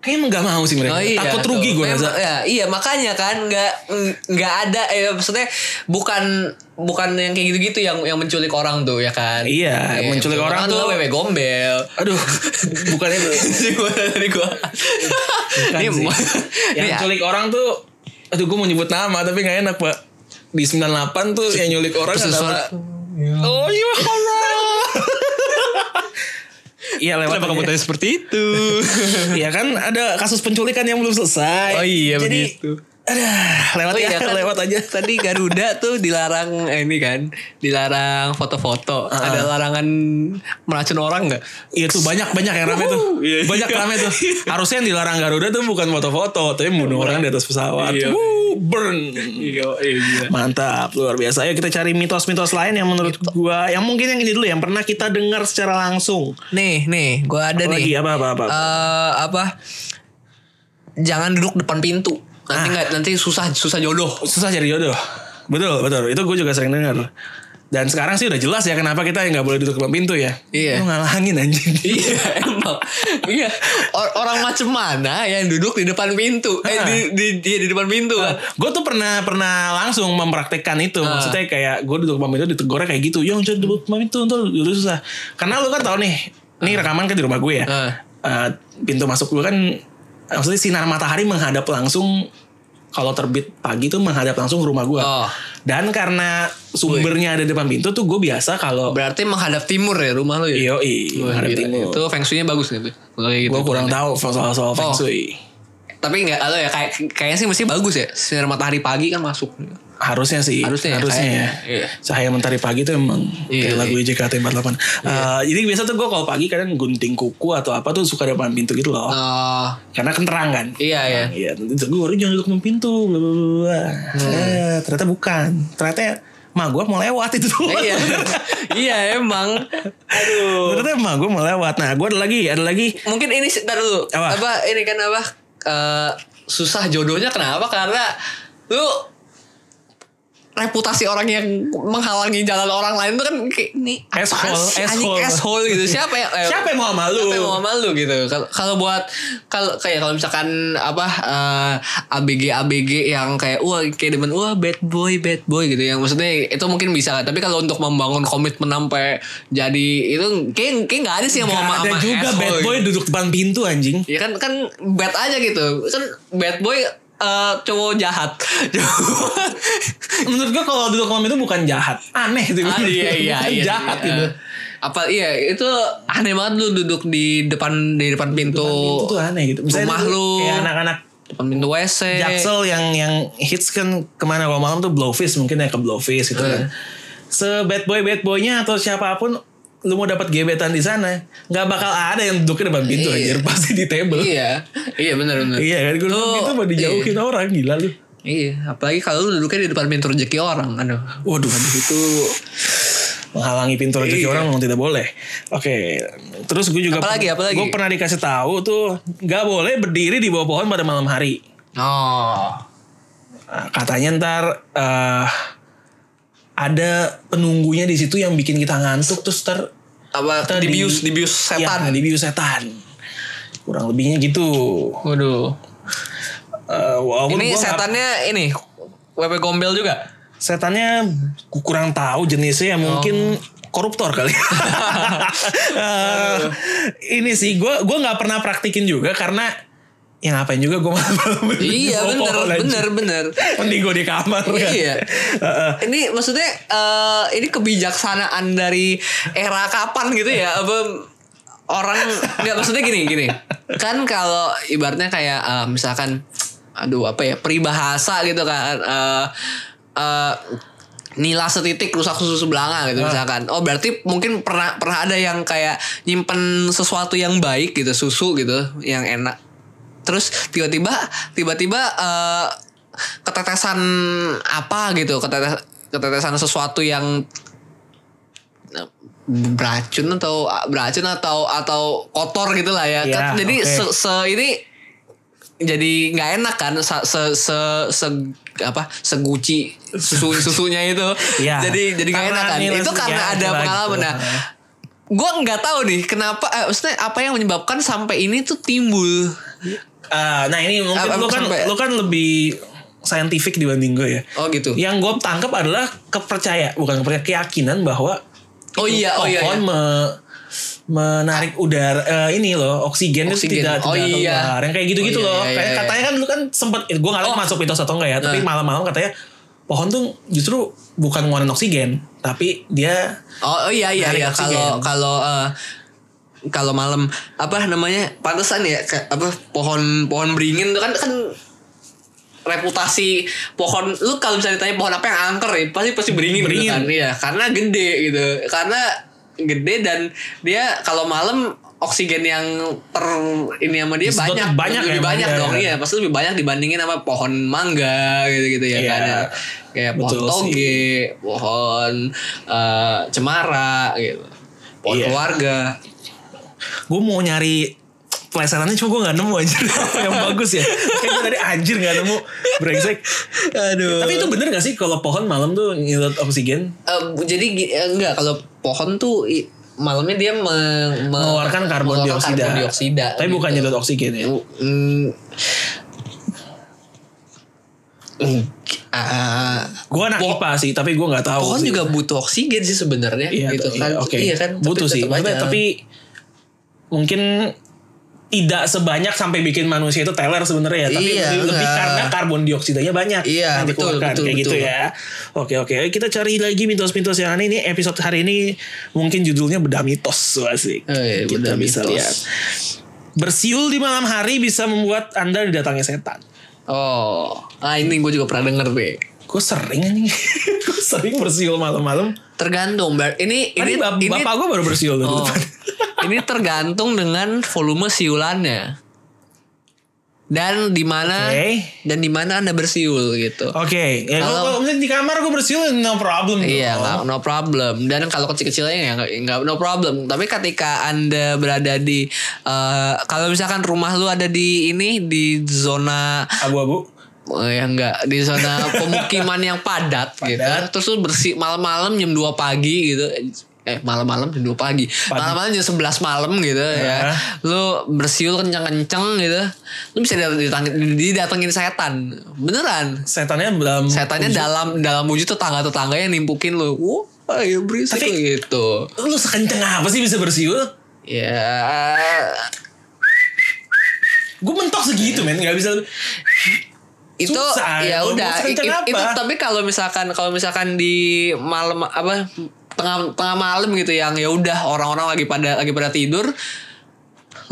A: Kayaknya nggak mau sih mereka.
B: Oh, iya,
A: Takut
B: tuh.
A: rugi gue
B: Memang-
A: rasa.
B: ya, iya makanya kan nggak nggak ada eh maksudnya bukan bukan yang kayak gitu-gitu yang yang menculik orang tuh ya kan.
A: Iya, menculik orang
B: tuh
A: tuh-
B: wewe gombel.
A: Aduh, bukan itu.
B: Ini gua tadi gua.
A: Bukan
B: Ini Iya.
A: sih.
B: mau-
A: yang
B: ini- ya.
A: culik orang tuh aduh gue mau nyebut nama tapi gak enak pak di 98 tuh yang nyulik orang
B: Terus
A: adalah
B: sesuatu.
A: oh you Iya lewat
B: Kenapa kamu
A: aja.
B: tanya seperti itu?
A: Iya kan ada kasus penculikan yang belum selesai.
B: Oh iya,
A: Jadi,
B: begitu.
A: Aduh, lewat
B: Oh
A: ya,
B: iya, kan.
A: lewat aja.
B: Tadi Garuda tuh dilarang eh, ini kan, dilarang foto-foto. Ada larangan meracun orang nggak?
A: Iya tuh banyak banyak yang rame tuh.
B: Iya, iya.
A: Banyak rame tuh. Harusnya yang dilarang Garuda tuh bukan foto-foto, tapi bunuh orang di atas pesawat.
B: Iya.
A: Woo, burn.
B: Iya, iya.
A: Mantap, luar biasa. Ayo kita cari mitos-mitos lain yang menurut gua yang mungkin yang ini dulu yang pernah kita dengar secara langsung.
B: Nih, nih, gua ada nih.
A: Lagi apa apa apa.
B: eh apa jangan duduk depan pintu nanti nggak nanti susah susah jodoh
A: Susah cari jodoh. Betul, betul. Itu gue juga sering dengar. Dan sekarang sih udah jelas ya kenapa kita nggak boleh duduk depan pintu ya.
B: Iya.
A: Lu ngalangin anjing.
B: iya emang iya Or- orang macam mana yang duduk di depan pintu eh di di, di, di depan pintu kan?
A: gue tuh pernah pernah langsung mempraktekkan itu
B: Ah.
A: maksudnya kayak gue duduk depan pintu ditegornya kayak gitu yang jadi duduk depan pintu ntar dulu susah karena lu kan tau nih ini rekaman kan di rumah gue ya
B: Ah.
A: Eh, pintu masuk gue kan maksudnya sinar matahari menghadap langsung kalau terbit pagi tuh menghadap langsung ke rumah gue
B: Oh.
A: dan karena sumbernya ada depan pintu tuh gue biasa kalau
B: berarti menghadap timur ya rumah lo
A: yoi
B: ya Wah,
A: Iya, menghadap
B: gila.
A: timur
B: itu feng shui-nya bagus gitu Kalau kayak gitu
A: gue kurang tahu soal soal feng
B: Oh.
A: shui
B: tapi nggak lo ya kayak kayaknya sih mesti bagus ya sinar matahari pagi kan masuk
A: Harusnya sih.
B: Harusnya ya,
A: ya.
B: kayaknya. Iya.
A: Cahaya mentari pagi itu emang kayak
B: Iya,
A: lagu JKT48. Eh, jadi biasa tuh gue kalau pagi kadang gunting kuku atau apa tuh suka depan pintu gitu loh.
B: oh
A: Karena kenterang kan.
B: iya Nah. ya
A: Iya, itu gue baru jangan duduk depan pintu. Bla, bla, bla, bla. Eh, ternyata bukan. Ternyata ma gue mau lewat itu tuh.
B: iya iya emang aduh
A: ternyata ma gue mau lewat. Nah, gue ada lagi, ada lagi.
B: mungkin ini sih- ntar dulu
A: Apa?
B: apa? ini kan apa eh, susah jodohnya kenapa karena lu reputasi orang yang menghalangi jalan orang lain itu kan kayak ini apaan
A: Asshole,
B: sih? Anjing
A: asshole.
B: asshole gitu siapa yang eh,
A: Siapa yang mau sama lu?
B: siapa yang mau sama lu gitu Kalau- kalau buat kalau kayak kalau misalkan apa eh, abg abg yang kayak wah kayak demen wah bad boy bad boy gitu yang maksudnya itu mungkin bisa kan tapi kalau untuk membangun komitmen sampai jadi itu kayak kayak nggak ada sih yang mau
A: Gak
B: sama
A: ada
B: sama gitu.
A: juga
B: asshole
A: bad boy duduk depan pintu anjing.
B: Ya kan kan bad aja gitu. Kan bad boy eh, cowok jahat. Cowok-
A: Menurut gue kalau Abdul Kalam itu bukan jahat, aneh itu.
B: Ah, iya iya iya.
A: jahat
B: iya.
A: gitu.
B: Apa iya itu aneh banget lu duduk di depan di depan pintu,
A: Itu tuh aneh gitu.
B: rumah
A: dulu
B: lu. Eh.
A: kayak anak-anak
B: depan pintu WC.
A: Jaksel yang yang hits kan kemana kalau malam tuh Blowfish mungkin ya ke Blowfish
B: Eh.
A: gitu kan. Se bad boy bad boynya atau siapapun lu mau dapat gebetan di sana nggak bakal ada yang duduk di depan pintu
B: Iya.
A: anjir pasti di table.
B: Iya. Iya benar benar.
A: Iya kan gue
B: Lu-
A: bilang gitu mau dijauhin orang gila lu.
B: Iya, apalagi kalau lu duduknya di depan pintu rezeki orang, aduh.
A: Waduh
B: Itu
A: menghalangi pintu rezeki
B: Iya.
A: orang memang tidak boleh. Oke, terus gue juga
B: Apalagi, apalagi?
A: gue pernah dikasih tahu tuh nggak boleh berdiri di bawah pohon pada malam hari.
B: oh.
A: Nah, katanya ntar eh, ada penunggunya di situ yang bikin kita ngantuk terus ntar
B: Apa
A: Kita di-
B: dibius dibius
A: ya,
B: setan.
A: dibius setan. Kurang lebihnya gitu.
B: Waduh.
A: Eh, walaupun gua
B: Ini
A: nggak-
B: setannya ini WP Gombel juga.
A: setannya ku- kurang tahu jenisnya ya mungkin
B: Oh.
A: koruptor kali. Eh, ini sih gue gua nggak pernah praktikin juga karena yang ngapain juga gue malam
B: Iya bener bener bener.
A: Mending gue di kamar kan.
B: Iya.
A: Heeh.
B: Ini maksudnya eh, ini kebijaksanaan dari era kapan gitu ya? Apa orang nggak maksudnya gini gini. Kan kalau ibaratnya kayak eh, misalkan aduh apa ya peribahasa gitu kan eh eh, nila setitik rusak susu belanga gitu misalkan oh berarti mungkin pernah pernah ada yang kayak nyimpen sesuatu yang baik gitu susu gitu yang enak terus tiba-tiba tiba-tiba eh, ketetesan apa gitu ketetes, ketetesan sesuatu yang eh, beracun atau beracun atau atau kotor gitulah ya
A: Iya,
B: Kan jadi
A: oke.
B: se- se ini jadi nggak enak kan se se se, se- apa seguci susu susunya itu
A: Iya.
B: jadi jadi nggak
A: Karena
B: enak kan
A: nilai
B: itu karena
A: sejarah
B: ada
A: lagi.
B: pengalaman nah
A: Heeh.
B: gue nggak tahu nih kenapa eh, maksudnya apa yang menyebabkan sampai ini tuh timbul
A: Eh, nah ini mungkin
B: Apa-
A: lu kan
B: sampai- ya?
A: lu kan lebih scientific dibanding gue ya.
B: oh gitu
A: Yang gue tangkap adalah kepercaya, bukan kepercaya keyakinan bahwa
B: Oh
A: itu
B: iya, oh iya,
A: pohon
B: iya.
A: me- menarik udara eh, ini loh oksigen, itu
B: Oksigen.
A: tidak
B: Oh
A: tidak
B: iya.
A: keluar. Yang kayak gitu-gitu
B: Oh iya,
A: loh.
B: iya,
A: Kayak
B: iya,
A: katanya kan lu kan sempet gue nggak tahu
B: Oh. Nah.
A: masuk mitos atau enggak ya, tapi malam-malam katanya pohon tuh justru bukan ngeluarin oksigen, tapi dia
B: Oh, oh iya iya
A: Narik
B: iya
A: oksigen.
B: kalau kalau eh, kalau malam apa namanya pantesan ya ke- apa pohon pohon beringin itu kan kan reputasi pohon lu kalau misalnya ditanya pohon apa yang angker ya pasti pasti beringin, gitu
A: Beringin.
B: kan Iya, karena gede gitu karena gede dan dia kalau malam oksigen yang ter ini sama dia
A: Disedot
B: banyak
A: banyak ya,
B: lebih banyak
A: mangga
B: dong
A: ya.
B: iya pasti lebih banyak dibandingin sama pohon mangga gitu gitu ya
A: Iya.
B: kan kayak pohon
A: Betul sih.
B: toge Oke, pohon eh, cemara gitu pohon
A: Iya.
B: keluarga
A: gue mau nyari pelajarannya cuma gue nggak nemu anjir Apa yang bagus ya. Kayak gue tadi anjir nggak nemu brengsek.
B: aduh
A: Tapi itu bener gak sih kalau pohon malam tuh nyedot oksigen
B: jadi gi- eh, enggak kalau pohon tuh i- malamnya dia me, me-
A: mengeluarkan karbon
B: Eh, mengeluarkan
A: dioksida.
B: karbon dioksida
A: Tapi bukan
B: gitu.
A: nyedot oksigen ya.
B: Mm, mm, ah,
A: Gue anak
B: Po-
A: IPA sih, tapi gue nggak tahu.
B: pohon
A: sih.
B: juga butuh oksigen sih sebenarnya
A: iya,
B: gitu
A: iya,
B: kan
A: Oke.
B: iya kan tapi
A: butuh sih.
B: tetap
A: Maksudnya,
B: aja.
A: tapi mungkin tidak sebanyak sampai bikin manusia itu teler sebenarnya ya, tapi
B: Iya,
A: lebih, lebih
B: enggak.
A: karena karbon dioksidanya banyak
B: Iya,
A: yang
B: betul,
A: dikeluarkan
B: betul,
A: kayak gitu
B: betul.
A: ya. Oke oke, Ayo kita cari lagi mitos-mitos yang aneh ini episode hari ini mungkin judulnya bedah mitos Wah, asik.
B: Oh, iya,
A: kita
B: bedah
A: bisa
B: mitos.
A: lihat. Bersiul di malam hari bisa membuat anda didatangi setan.
B: oh ah ini gue juga pernah denger deh
A: Gue sering anjing. Gue sering bersiul malam-malam.
B: tergantung Bar. ini
A: Tadi
B: ini
A: bap-
B: ini
A: bapak gue baru bersiul tuh di
B: Oh.
A: depan.
B: ini tergantung dengan volume siulannya. Dan di mana
A: Oke.
B: dan di mana Anda bersiul gitu.
A: Oke, ya kalau
B: Kalau-
A: kalau misalnya di kamar gue bersiul no problem.
B: Iya,
A: dong.
B: nggak- no problem. Dan kalau kecil-kecilnya ya nggak- nggak no problem. Tapi ketika Anda berada di eh, kalau misalkan rumah lu ada di ini di zona
A: Abu-abu.
B: eh, yang enggak di zona pemukiman yang padat, gitu. Terus lu bersih malam-malam jam 2 pagi gitu. Eh malam-malam jam 2 pagi. Malam-malam jam 11 malam gitu ya.
A: Heeh.
B: Lu bersiul kenceng-kenceng gitu. Lu bisa dat- ditang- didatengin setan. Beneran.
A: Setannya dalam
B: Setannya dalam dalam wujud tetangga-tetangga yang nimpukin lu. Wah, ya berisik
A: Tapi-
B: lu gitu.
A: lu sekenceng apa sih bisa bersiul?
B: Ya.
A: Gue mentok segitu men, nggak bisa.
B: itu
A: Susah,
B: ya
A: kalau
B: udah
A: bosen
B: i- i-
A: kenapa?
B: itu tapi kalau misalkan kalau misalkan di malam apa tengah tengah malam gitu yang ya udah orang-orang lagi pada lagi pada tidur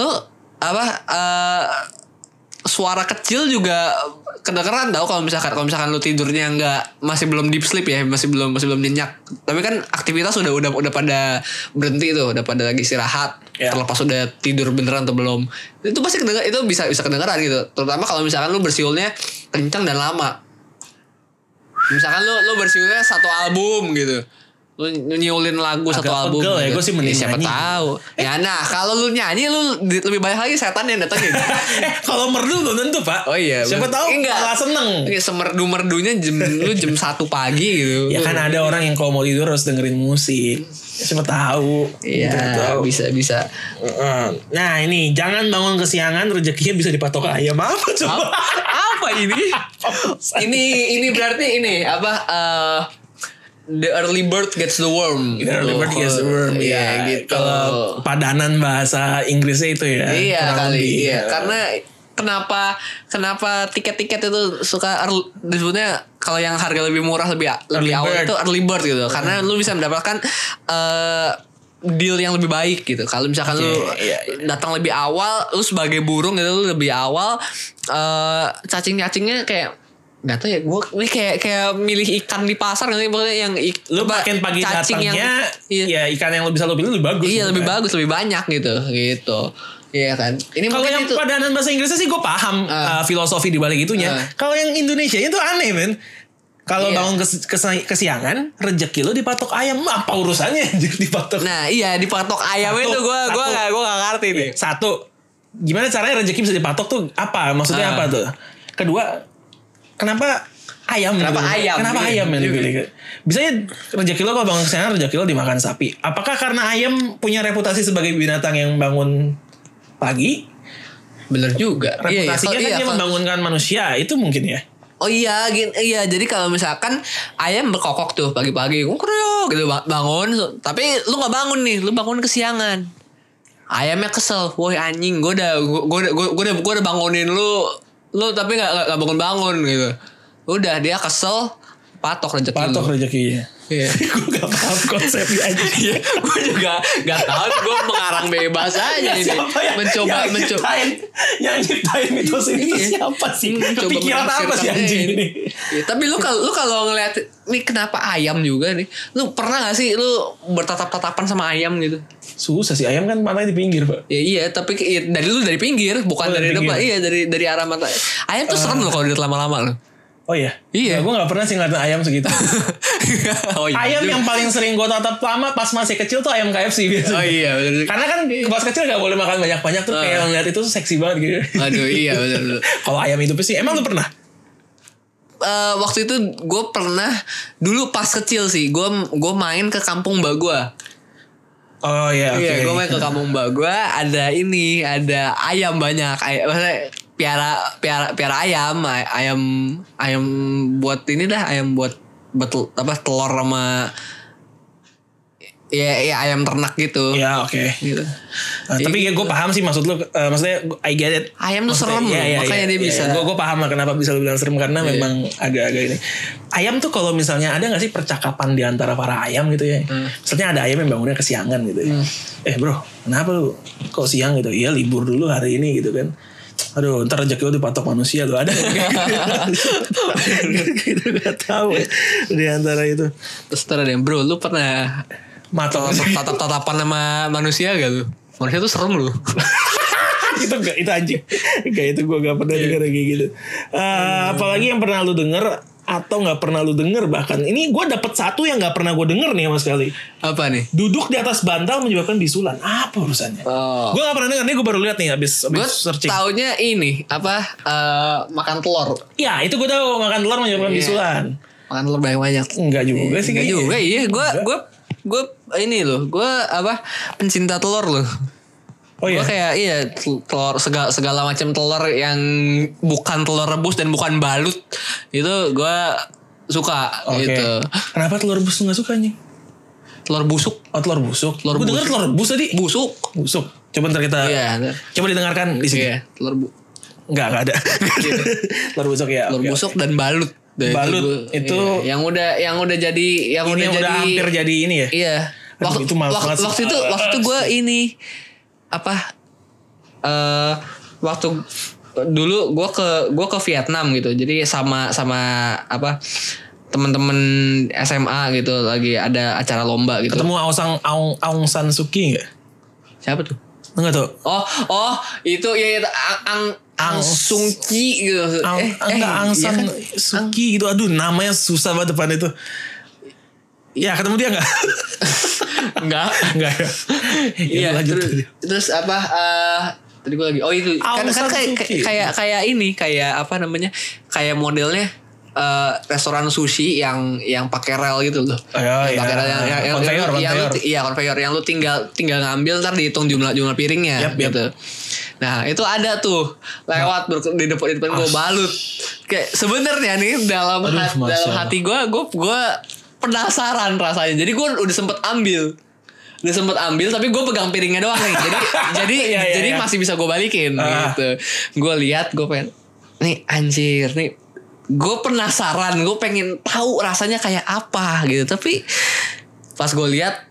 B: lo apa eh, suara kecil juga kedengeran tau kalau misalkan kalau misalkan lu tidurnya nggak masih belum deep sleep ya masih belum masih belum nyenyak tapi kan aktivitas udah udah udah pada berhenti tuh udah pada lagi istirahat
A: Ya.
B: terlepas udah tidur beneran atau belum itu pasti kedenger, itu bisa bisa kedengeran gitu terutama kalau misalkan lu bersiulnya kencang dan lama misalkan lu lu bersiulnya satu album gitu lu ny- nyiulin lagu
A: Agak
B: satu album
A: pegel ya,
B: gitu.
A: gua sih mending
B: siapa
A: nyanyi.
B: tahu ya nah kalau lu nyanyi lu di- lebih banyak lagi setan yang datengin
A: Eh, kalau merdu belum tentu pak.
B: Oh iya.
A: Siapa tahu
B: Enggak.
A: malah seneng.
B: Ini semerdu-merdunya jam lu jam 1 pagi gitu.
A: Ya kan ada orang yang kalau mau tidur harus dengerin musik. Siapa tahu. Gitu, nggak
B: Iya,
A: tahu.
B: bisa bisa.
A: Heeh. Nah ini jangan bangun kesiangan rezekinya bisa Iya, dipatok ayam apa coba?
B: Apa ini? ini ini berarti ini apa eh, the early bird gets the worm.
A: The early bird gets the worm,
B: Iya,
A: ya.
B: gitu.
A: Kalau padanan bahasa Inggrisnya itu ya.
B: iya
A: kurang
B: kali.
A: lebih. ya.
B: Iya, karena kenapa kenapa tiket-tiket itu suka earl- disebutnya kalau yang harga lebih murah lebih lebih
A: Early
B: awal
A: bird.
B: itu early bird gitu. Karena lu bisa mendapatkan eh, deal yang lebih baik gitu. Kalau misalkan lu
A: iya,
B: datang lebih awal, lu sebagai burung gitu lu lebih awal eh cacing-cacingnya kayak Gak tau ya, gue kayak kayak milih ikan di pasar gitu, pokoknya yang ik-
A: Lu
B: apa,
A: makin pagi
B: cacing yang-
A: datangnya,
B: iya.
A: ya ikan yang bisa lo pilih lebih bagus.
B: Iya
A: gitu
B: lebih
A: kan.
B: bagus lebih banyak gitu gitu. Iya kan. Ini
A: Kalau
B: mungkin
A: yang
B: itu.
A: padanan bahasa Inggrisnya sih gue paham
B: Ah.
A: uh, filosofi di balik itunya.
B: Ah.
A: Kalau yang Indonesia itu aneh men. Kalau
B: Iya.
A: bangun kes- kes- kesiangan, rejeki lo dipatok ayam apa urusannya anjir, dipatok?
B: Nah iya di patok ayam
A: Satu,
B: itu gue gue
A: satu.
B: gak gue gak ngerti nih.
A: Satu, gimana caranya rejeki bisa dipatok tuh apa? Maksudnya
B: Ah.
A: apa tuh? Kedua, kenapa ayam?
B: Kenapa
A: dipilih?
B: ayam?
A: Kenapa
B: Iya.
A: ayam yang
B: Iya.
A: dipilih? Bisanya rejeki lo kalau bangun kesiangan rejeki lo dimakan sapi. Apakah karena ayam punya reputasi sebagai binatang yang bangun pagi?
B: Bener juga. Iya, iya.
A: Reputasinya
B: Kalau- iya,
A: kan dia
B: kalau-
A: membangunkan manusia itu mungkin ya.
B: Oh iya, gin- iya. Jadi kalau misalkan ayam berkokok tuh pagi-pagi, kukruk gitu ba- bangun. Tapi lu nggak bangun nih, lu bangun kesiangan. Ayamnya kesel, woi anjing, gue udah gue udah gue udah gue udah bangunin lu, lu tapi nggak- nggak nggak bangun-bangun gitu. Udah dia kesel, patok rezeki lu.
A: Patok rezekinya.
B: Iya.
A: gue gak paham konsepnya aja.
B: gue Iya, juga gak tahu gue mengarang bebas aja ini Ah, mencoba
A: yang
B: mencoba
A: Nyiptain, yang nyiptain mitos ini tuh
B: Iya.
A: siapa sih?
B: mencoba
A: Kepikiran apa sih
B: menafsirkannya
A: anjing ini?
B: Iya, tapi lu kalau lu kalau ngeliat nih kenapa ayam juga nih lu pernah gak sih lu bertatap-tatapan sama ayam gitu
A: Susah sih ayam kan matanya di pinggir pak.
B: ya iya tapi ke- iya, dari lu dari pinggir Eh. bukan
A: Oh,
B: dari
A: dari
B: depan
A: pinggir.
B: iya dari dari arah mata ayam tuh serem loh kalau dilihat lama-lama lo
A: Oh iya.
B: Iya.
A: gue gak pernah sih ngeliatin ayam segitu.
B: oh, iya,
A: ayam
B: bener.
A: yang paling sering gue tatap lama pas masih kecil tuh ayam KFC
B: oh
A: biasanya.
B: iya Ah. bener.
A: Karena kan pas kecil gak boleh makan banyak-banyak tuh kayak ngeliat itu tuh seksi banget gitu.
B: aduh iya bener, bener.
A: Kalau ayam hidupnya sih, emang lu pernah?
B: Eh, waktu itu gue pernah dulu pas kecil sih gue gue main ke kampung mbak gue
A: Oh iya, oke.
B: Iya, gue main ke kampung mbak gue ada ini, ada ayam banyak. Ayam, maksudnya piara piara piara ayam, ay- ayam ayam buat ini dah, ayam buat betul apa telur sama ya, ya ayam ternak gitu.
A: Iya, oke.
B: Gitu.
A: Nah, tapi ya gue paham sih maksud lu, eh, maksudnya gua- I get it. iya,
B: Ayam tuh serem loh, makanya dia bisa. Iya.
A: Gue gue paham lah kenapa bisa lu bilang serem karena memang agak-agak ini. Ayam tuh kalau misalnya ada nggak sih percakapan di antara para ayam gitu ya?
B: Hmm.
A: Misalnya ada ayam yang bangunnya kesiangan gitu ya. Eh bro, kenapa lu kok siang gitu? Iya libur dulu hari ini gitu kan. Aduh, ntar rezeki lu dipatok manusia lu ada. Kita nggak tahu ya, di antara itu.
B: Terus terus ada yang bro, lu pernah
A: Mata
B: tatap tatapan sama manusia gak lu? Manusia tuh serem lu.
A: itu enggak itu anjing enggak itu gue gak
B: Iya.
A: pernah denger kayak gitu Eh,
B: Hmm.
A: apalagi yang pernah lu denger atau nggak pernah lu denger bahkan ini gue dapet satu yang nggak pernah gue denger nih mas sekali
B: Apa nih?
A: duduk di atas bantal menyebabkan bisulan apa urusannya
B: Oh.
A: gue gak pernah denger nih gue baru lihat nih abis abis
B: Gue
A: searching
B: taunya ini apa eh, makan telur,
A: ya itu gue tahu makan telur menyebabkan bisulan
B: makan telur banyak banyak.
A: enggak juga sih kayaknya.
B: Enggak Iya. juga iya gue gue gue ini loh gue apa pencinta telur loh
A: oh iya
B: gue kayak iya tel- telur segala segala macam telur yang bukan telur rebus dan bukan balut itu gue suka
A: oke
B: gitu
A: kenapa telur busuk nggak suka nih
B: telur busuk
A: oh telur busuk
B: Telur
A: gue denger telur bus tadi
B: busuk
A: busuk coba ntar kita
B: iya
A: coba didengarkan di sini
B: iya telur bu
A: Enggak, enggak ada. Telur busuk ya.
B: telur
A: oke,
B: busuk dan balut. Dari
A: Balut, itu-
B: iya. yang udah yang udah jadi yang
A: oke. Ini
B: udah,
A: udah,
B: jadi
A: hampir jadi ini ya.
B: iya.
A: Aduh,
B: Waktu
A: itu males
B: waktu-
A: banget sih.
B: waktu itu waktu itu gue ini apa eh waktu dulu gue ke gue ke Vietnam gitu. Jadi sama sama apa teman-teman SMA gitu lagi ada acara lomba gitu.
A: Ketemu Aung San Aung, Aung San Suu Kyi enggak?
B: Siapa tuh?
A: Enggak tuh.
B: Oh, oh, itu ya, ya Ang Ang Ang
A: Ang-
B: Sung Ki gitu.
A: Ang, enggak, Aung
B: iya
A: San
B: kan?
A: Suu Kyi gitu. Aduh, namanya susah banget depan itu. Ya, ketemu dia enggak?
B: Enggak.
A: enggak ya.
B: Iya,
A: Ya, lanjut.
B: terus, terus apa eh, tadi gue lagi. Oh, itu. Kan,
A: Aung
B: kan
A: San
B: kayak
A: Suu Kyi.
B: kayak kayak ini, kayak apa namanya? Kayak modelnya eh, restoran sushi yang yang pakai rel gitu loh.
A: Oh, iya,
B: Yang
A: iya.
B: pakai rel yang yang, yang,
A: Conveyor,
B: yang lu-
A: conveyor.
B: iya conveyor yang lu tinggal tinggal ngambil ntar dihitung jumlah jumlah piringnya
A: Yap, Nah. yap.
B: gitu. Nah itu ada tuh lewat ber- di depan di depan gue balut. Kayak sebenarnya nih dalam
A: Ah. Aduh,
B: hat-
A: Masya
B: dalam
A: Allah.
B: hati gue gue gue penasaran rasanya. Jadi gue udah sempet ambil udah sempet ambil tapi gue pegang piringnya doang nih jadi jadi
A: Iya, iya,
B: jadi
A: iya.
B: masih bisa gue balikin
A: Ah.
B: gitu gue lihat gue pengen nih anjir nih gue penasaran gue pengen tahu rasanya kayak apa gitu tapi pas gue lihat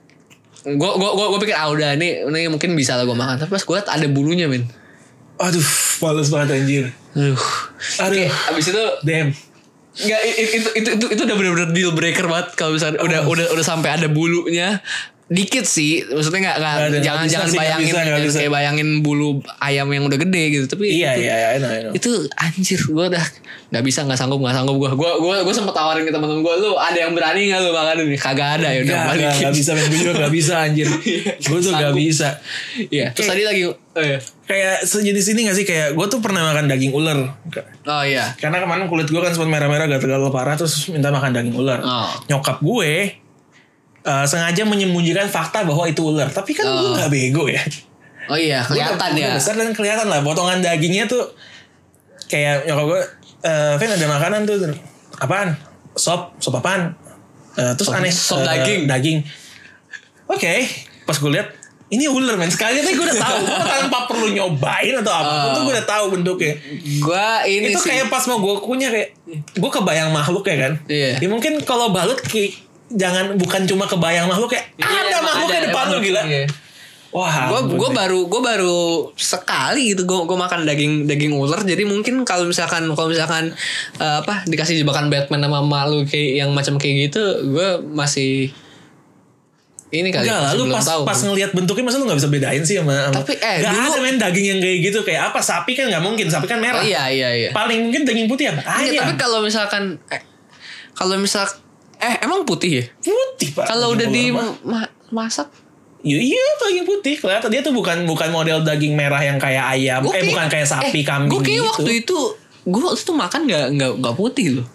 B: gue gue gue pikir ah udah nih ini mungkin bisa lah gue makan tapi pas gue lihat ada bulunya men
A: Aduh, males banget anjir.
B: aduh
A: Aduh.
B: Kayak abis itu
A: Damn.
B: Nggak, i- i- itu, itu, itu, itu udah bener-bener deal breaker banget kalau misalnya udah
A: Oh.
B: udah udah sampai ada bulunya dikit sih maksudnya nggak nggak
A: Nggak ada,
B: jangan
A: nggak bisa sih,
B: jangan
A: nggak
B: bayangin
A: bisa, nggak
B: jangan
A: bisa.
B: kayak bayangin bulu ayam yang udah gede gitu tapi
A: Iya,
B: itu,
A: iya, iya, I know, I know.
B: itu anjir gue udah nggak bisa nggak sanggup nggak sanggup gue gue gue gue sempet tawarin ke teman-teman gue lu ada yang berani nggak lu makan ini kagak ada ya udah
A: Gak, gak,
B: balikin
A: gak bisa men gue juga gak bisa anjir Gue tuh gak
B: Sanggup.
A: bisa
B: iya terus tadi lagi oh iya
A: Kayak sejenis ini gak sih Kayak gue tuh pernah makan daging ular
B: oh iya
A: Karena kemarin kulit gue kan sempat merah-merah gatal-gatal parah Terus minta makan daging ular
B: Oh.
A: Nyokap gue eh, Sengaja menyembunyikan fakta bahwa itu ular Tapi kan gue
B: Oh.
A: gak bego ya
B: oh iya kelihatan
A: Udah-
B: ya
A: udah besar dan kelihatan lah potongan dagingnya tuh kayak nyokap gue eh Vin ada makanan tuh apaan sop sop apaan Eh, terus aneh
B: sop
A: eh,
B: daging.
A: daging oke pas gue lihat ini ular men sekali tapi gue udah tahu gue tanpa perlu nyobain atau apa
B: Oh.
A: tuh gue udah tahu bentuknya
B: gue ini
A: itu
B: Iya sih
A: kayak pas mau gue kunyah kayak gue kebayang makhluk ya kan
B: Iya.
A: ya mungkin kalau balut ki- jangan bukan cuma kebayang makhluk ya ada
B: Iya, emang
A: makhluk di depan lu
B: emang.
A: gila
B: Iya.
A: wah
B: gue
A: ampun.
B: gue baru gue baru sekali gitu gue gue makan daging daging ular jadi mungkin kalau misalkan kalau misalkan eh, apa dikasih jebakan Batman sama malu kayak yang macam kayak gitu gue masih ini kali
A: Enggak lah,
B: masih
A: lu
B: belum
A: pas,
B: tahu.
A: pas ngelihat bentuknya masa lu gak bisa bedain sih sama, sama-
B: Tapi, eh,
A: Nggak
B: dulu-
A: ada main daging yang kayak gitu Kayak apa, sapi kan gak mungkin, sapi kan merah
B: Oh, iya iya iya
A: Paling mungkin daging putih apa?
B: Enggak,
A: Ayam,
B: tapi kalau misalkan eh, kalau misal eh emang putih ya
A: putih pak
B: kalau udah
A: Daging
B: di
A: ular mah.
B: ma- masak
A: Iya, iya, daging putih Kelihatan dia tuh bukan bukan model daging merah yang kayak ayam Eh bukan kayak sapi, kambing
B: gue kayak
A: gitu
B: waktu itu gue waktu itu makan nggak nggak nggak putih loh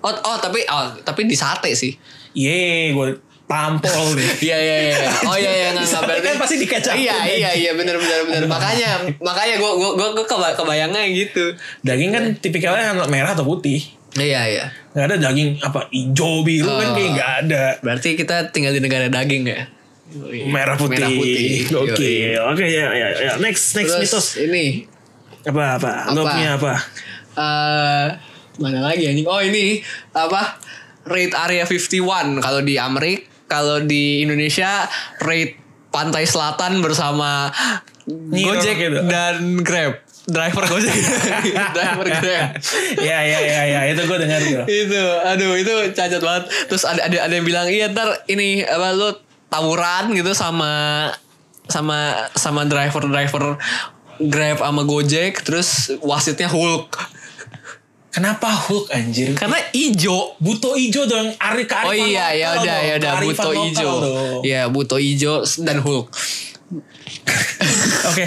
B: oh oh tapi oh, tapi di sate sih
A: Yeay, gue tampol deh
B: Iya iya iya. Oh iya iya nggak
A: Tapi
B: sabar.
A: kan pasti dikecapin.
B: Iya iya iya benar benar benar. Makanya makanya gua gua gua, gua keba- kebayangnya gitu.
A: Daging kan tipikalnya kan merah atau putih
B: Iya iya.
A: Gak ada daging apa hijau biru kan kayak
B: Oh.
A: gak ada
B: Berarti kita tinggal di negara daging ya.
A: merah putih,
B: Merah putih.
A: oke
B: Yoi.
A: oke ya ya ya next next
B: Terus
A: mitos
B: ini
A: apa apa lo
B: Apa?
A: punya apa
B: eh mana lagi anjing? Oh ini apa? Rate Area 51 kalau di Amerika, kalau di Indonesia rate Pantai Selatan bersama
A: Nyirok
B: Gojek
A: gitu.
B: dan Grab. Driver Gojek, driver Grab.
A: ya ya ya ya itu gue dengar tuh
B: itu aduh itu cacat banget terus ada ada ada yang bilang iya ntar ini apa lu tawuran gitu sama sama sama driver driver Grab sama Gojek terus wasitnya Hulk
A: kenapa Hulk anjir
B: karena ijo
A: buto ijo dong Ari kearifan
B: oh iya
A: lokal
B: ya udah
A: dong,
B: ya udah
A: kearifan
B: buto
A: lokal
B: ijo
A: dong.
B: ya buto ijo dan Hulk
A: oke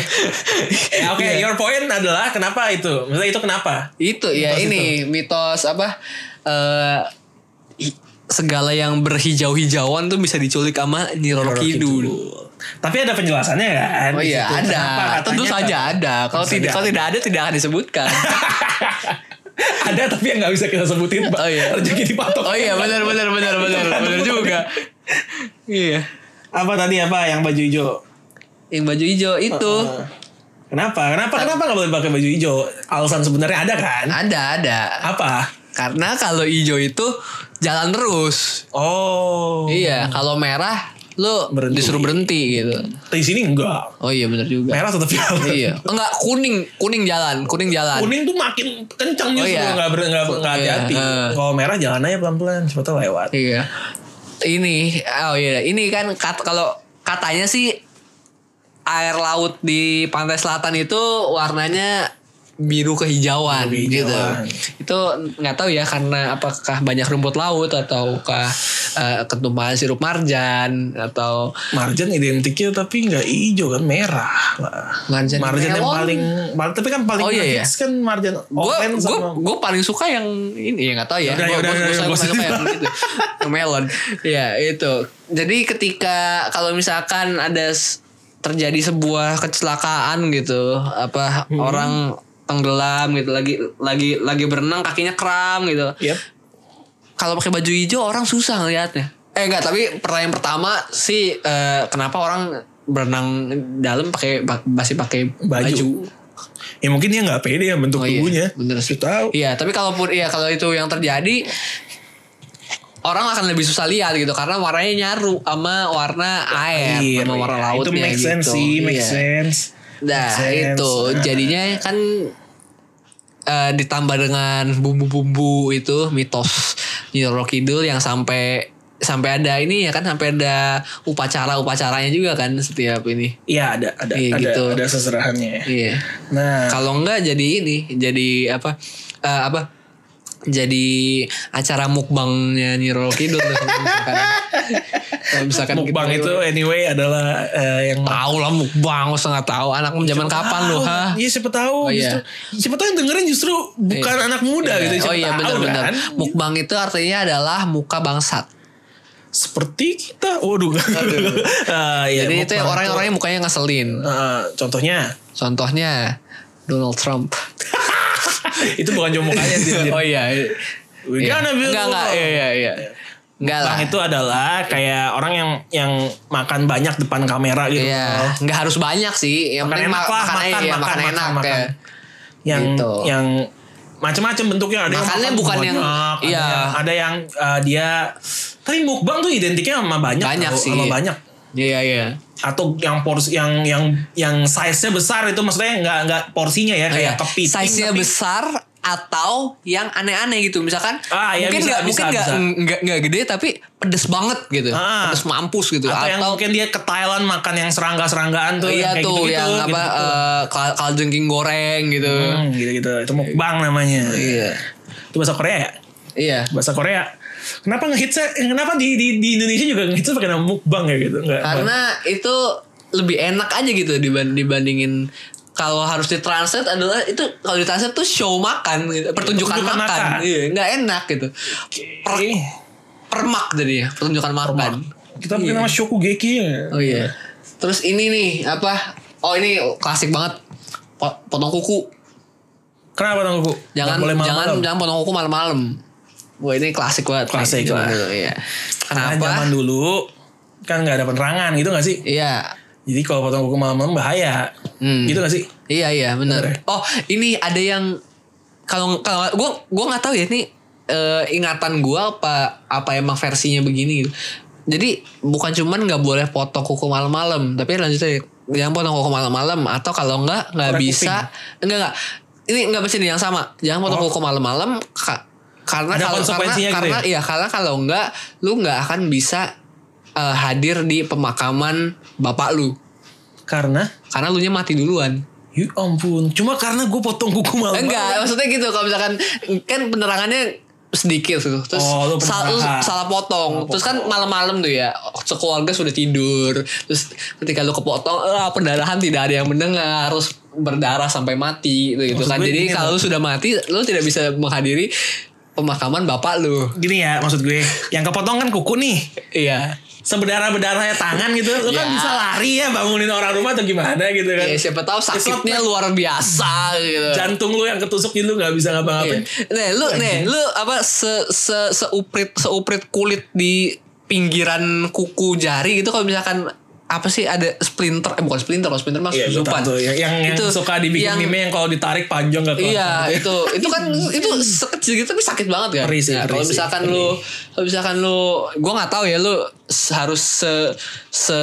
A: Ya, oke
B: Iya.
A: your point adalah kenapa itu maksudnya itu kenapa
B: itu ya
A: Mitos
B: ini mitos apa eh i- segala yang berhijau-hijauan tuh bisa diculik sama Nyi Roro Kidul.
A: tapi ada penjelasannya kan
B: Oh
A: di
B: iya
A: situ.
B: ada
A: Kenapa katanya
B: Tentu saja
A: kan?
B: ada Kalau
A: Tentu
B: tidak
A: saja
B: kalau tidak ada tidak akan disebutkan
A: ada tapi yang nggak bisa kita sebutin Pak.
B: Oh, iya.
A: rezeki dipatok
B: Oh iya benar benar benar benar benar juga Iya
A: apa tadi apa yang baju hijau
B: Yang baju hijau itu
A: Uh-uh. Heeh. Kenapa? Kenapa? Kenapa nggak boleh pakai baju hijau? Alasan sebenarnya ada kan?
B: Ada ada.
A: Apa?
B: Karena kalau hijau itu jalan terus.
A: Oh,
B: Iya, kalau merah lu
A: Berhenti.
B: disuruh berhenti gitu.
A: di sini enggak.
B: Oh iya bener juga.
A: Merah tetap jalan.
B: iya. Enggak kuning, kuning jalan, kuning jalan.
A: Kuning tuh makin kencang
B: Oh,
A: justru
B: iya.
A: nggak ber- nggak nggak
B: Iya,
A: hati-hati.
B: eh.
A: Kalau merah jalan aja pelan-pelan, siapa tahu lewat.
B: Iya. Ini, oh iya, ini kan kat, kalau katanya sih air laut di pantai selatan itu warnanya biru kehijauan
A: Biru
B: gitu.
A: kehijauan.
B: Itu nggak tahu ya karena apakah banyak rumput laut ataukah eh, ketumpahan sirup marjan atau
A: Marjan identiknya tapi nggak hijau kan merah lah.
B: Marjan
A: yang
B: melon.
A: paling, mal- tapi kan paling
B: Oh, iya,
A: ngefix kan marjan
B: gue
A: orange
B: gue
A: sama
B: gue paling suka yang ini ya nggak tahu ya
A: Udah,
B: gue
A: udah, udah,
B: suka
A: gua
B: suka
A: sendiri.
B: yang itu yang melon ya itu jadi ketika kalau misalkan ada s- terjadi sebuah kecelakaan gitu apa
A: Hmm.
B: orang tenggelam gitu lagi lagi lagi berenang kakinya kram gitu
A: Yep.
B: kalau pakai baju hijau orang susah ngelihatnya. Eh enggak, tapi pertanyaan pertama sih eh, kenapa orang berenang dalam pakai pa- masih pakai
A: Baju.
B: baju.
A: Ya mungkin dia nggak pede ya bentuk
B: Oh, iya.
A: tubuhnya.
B: Bener sih.
A: Lu tahu.
B: Iya, tapi kalaupun iya kalau itu yang terjadi orang akan lebih susah lihat gitu karena warnanya nyaru sama warna air,
A: Iya,
B: sama
A: iya.
B: warna lautnya
A: Itu make sense
B: gitu.
A: sih, make
B: Iya.
A: sense.
B: Nah
A: Make sense.
B: itu
A: Nah.
B: jadinya kan eh, ditambah dengan bumbu-bumbu itu mitos Nyiroro Kidul yang sampai sampai ada ini ya kan sampai ada upacara-upacaranya juga kan setiap ini.
A: Iya ada ada
B: Iya,
A: ada,
B: gitu.
A: ada seserahannya. ya.
B: Iya.
A: Nah,
B: Kalau enggak jadi ini jadi apa eh, apa jadi acara mukbangnya Nyiroro Kidul tuh, kalau misalkan, kalau misalkan
A: mukbang
B: Kan kita-
A: itu anyway adalah eh, yang
B: tahu lah mukbang usah nggak tahu anak zaman kapan
A: Tahu.
B: lu ha
A: Iya siapa tahu
B: Oh, iya.
A: justru siapa tahu yang dengerin justru bukan anak muda gitu
B: Iya.
A: siapa
B: Oh iya
A: tahu
B: benar-benar.
A: kan?
B: Mukbang itu artinya adalah muka bangsat.
A: Seperti kita. Waduh. Ah, iya,
B: Jadi itu
A: mukbang
B: orang-orang yang mukanya ngeselin.
A: Ah, contohnya
B: Contohnya Donald Trump.
A: itu bukan cuma mukanya sih. anjir.
B: oh iya. iya.
A: We gonna build a
B: Enggak enggak
A: wall.
B: iya iya iya. Enggak lah.
A: Mukbang itu adalah kayak orang yang yang makan banyak depan kamera gitu.
B: Iya, nggak harus banyak sih. Yang
A: Makan
B: penting
A: enak
B: ma-
A: lah,
B: makan,
A: makan,
B: aja,
A: makan,
B: makan
A: makan,
B: enak
A: makan.
B: ya.
A: Yang
B: Gitu.
A: yang macam-macam bentuknya ada
B: Makannya
A: yang makan
B: bukan yang-
A: banyak,
B: iya.
A: ada yang, ada yang ah, dia tapi mukbang tuh identiknya sama banyak
B: Banyak
A: tau,
B: sih.
A: sama banyak Eh,
B: Iya iya.
A: atau yang porsi yang yang yang size-nya besar itu maksudnya nggak nggak porsinya ya kayak kepiting
B: Oh, iya. Size-nya
A: tapi-
B: besar atau yang aneh-aneh gitu misalkan
A: Ah, iya,
B: mungkin
A: bisa,
B: nggak
A: bisa,
B: mungkin nggak
A: bisa.
B: nggak nggak gede tapi pedes banget gitu
A: Ah.
B: pedes mampus gitu
A: atau, yang mungkin dia ke Thailand makan yang serangga-seranggaan tuh
B: iya
A: kayak
B: tuh
A: gitu-gitu,
B: yang apa
A: gitu-gitu.
B: eh, kal- kaljengking goreng gitu
A: Hmm, gitu-gitu itu mukbang namanya
B: iya
A: itu bahasa Korea ya
B: iya
A: bahasa Korea kenapa ngehitsnya kenapa di di, di Indonesia juga ngehitsnya pakai nama mukbang ya gitu nggak
B: karena itu lebih enak aja gitu diban- dibandingin kalau harus ditranslate adalah itu kalau ditranslate tuh show makan gitu. pertunjukan,
A: Pertunjukan
B: makan,
A: makan.
B: Iya, nggak enak gitu
A: Oke.
B: permak jadinya pertunjukan makan
A: kita pakai nama Shokugeki ya
B: Kan. Iya. oh iya terus ini nih apa oh ini klasik banget Po- potong kuku
A: kenapa dong Bu?
B: jangan
A: Nggak boleh
B: jangan
A: malam-malam.
B: jangan potong kuku malam-malam wah ini klasik banget
A: Klasik
B: Gitu,
A: lah.
B: gitu, iya
A: Karena
B: kenapa
A: zaman Ah, dulu kan nggak ada penerangan gitu nggak sih
B: iya
A: Jadi kalau potong kuku malam-malam bahaya.
B: Hmm.
A: Gitu gak sih?
B: Iya iya benar.
A: Bener
B: Oh ini ada yang kalau kalau gue gue nggak tahu ya ini eh, ingatan gue apa apa emang versinya begini. gitu. Jadi bukan cuman nggak boleh potong kuku malam-malam, tapi lanjutnya jangan potong kuku malam-malam atau kalau nggak nggak
A: Korek
B: bisa enggak enggak ini nggak mesti nih yang sama. Jangan potong kuku malam-malam ka-
A: Oh. Ada
B: karena kalau karena,
A: konsekuensinya gitu
B: karena iya karena kalau nggak lu nggak akan bisa eh, hadir di pemakaman bapak lu
A: Karena
B: karena lu nya mati duluan.
A: Ya ampun, cuma karena gue potong kuku malam.
B: Enggak, maksudnya gitu kalau misalkan kan penerangannya sedikit gitu. Terus
A: Oh, lu
B: sal- lu
A: penerangan.
B: salah potong. Terus kan malam-malam tuh ya sekeluarga sudah tidur. Terus ketika lu kepotong ah, pendarahan tidak ada yang mendengar. Terus berdarah sampai mati gitu, gitu
A: Maksud
B: kan.
A: gue
B: Jadi
A: gini,
B: kalau lu sudah mati lu tidak bisa menghadiri pemakaman bapak lu.
A: Gini ya maksud gue, yang kepotong kan kuku nih.
B: Iya.
A: Seberdarah-berdarahnya tangan gitu, lu kan
B: Ya.
A: bisa lari ya bangunin orang rumah atau gimana gitu kan.
B: Ya, siapa tahu sakitnya luar biasa gitu.
A: Jantung lu yang ketusuk gitu lu gak bisa
B: Iya.
A: ngapa-ngapain.
B: Nih, lu nih, lu apa se se seuprit seuprit kulit di pinggiran kuku jari gitu kalau misalkan apa sih ada splinter eh bukan splinter kalau splinter mah
A: Iya, gua
B: susupan
A: tahu tuh. yang, yang, yang suka dibikin
B: yang-
A: meme yang kalau ditarik panjang gak kelar.
B: Iya itu itu kan itu sekecil gitu tapi sakit banget kan.
A: Perih sih,
B: Nah, kalau
A: perih sih,
B: misalkan lu kalau misalkan lu gua nggak tahu ya lu s- harus se se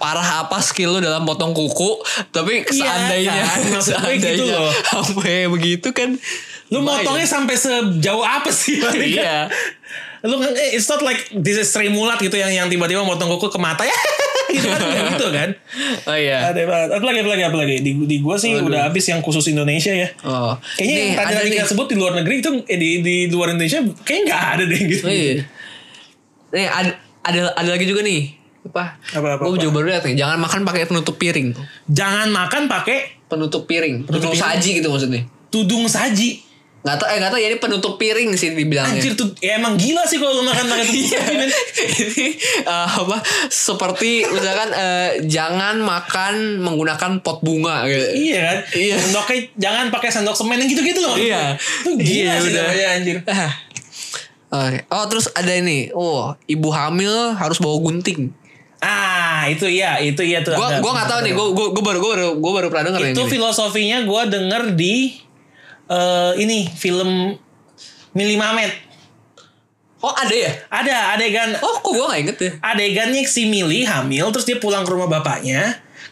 B: parah apa skill lu dalam potong kuku
A: Iya,
B: tapi seandainya
A: kan? Maksud gue gitu loh.
B: sampai begitu kan
A: Lu
B: lumayan.
A: motongnya sampai sejauh apa sih?
B: Iya.
A: Lu kan eh, it's not like this is Sri Mulat gitu yang yang tiba-tiba motong kuku ke mata ya. gitu kan nggak gitu kan.
B: Oh iya.
A: Ada banget. Apa lagi apa lagi apa lagi? Di, di gua sih udah habis yang khusus Indonesia ya.
B: Oh.
A: Kayaknya
B: Nih,
A: yang tadi
B: ada
A: tadi
B: nih.
A: kita sebut di luar negeri itu eh, di di luar Indonesia kayaknya nggak ada deh gitu.
B: Iya. Nih ada ada, ada lagi juga nih. Apa?
A: Apa, apa,
B: Gua
A: apa?
B: juga baru lihat nih. Jangan makan pakai penutup piring.
A: Jangan makan pakai
B: Penutup piring. Penutup, saji gitu maksudnya.
A: tudung saji.
B: Gak tau, eh gak tau ya ini penutup piring sih dibilangnya.
A: Anjir tuh ya emang gila sih kalau lu makan pakai tudung
B: Iya.
A: saji. men.
B: ini eh, apa seperti misalkan eh, jangan makan menggunakan pot bunga gitu.
A: Iya kan?
B: Iya.
A: Sendoknya jangan pakai sendok semen yang gitu-gitu loh.
B: Iya.
A: Itu gila
B: Iya,
A: sih
B: udah.
A: namanya anjir.
B: Ah. Oke. Oh terus ada ini, oh ibu hamil harus bawa gunting.
A: Ah, itu iya, itu iya tuh.
B: Gua
A: ada.
B: gua nggak tahu nih, gua gua gua baru gua baru gua baru pernah denger yang
A: Itu
B: ini.
A: filosofinya gue denger di eh ini film Mili Mamet.
B: Oh ada ya?
A: Ada kan adegan
B: Oh kok gua nggak inget ya?
A: adegannya si Mili hamil terus dia pulang ke rumah bapaknya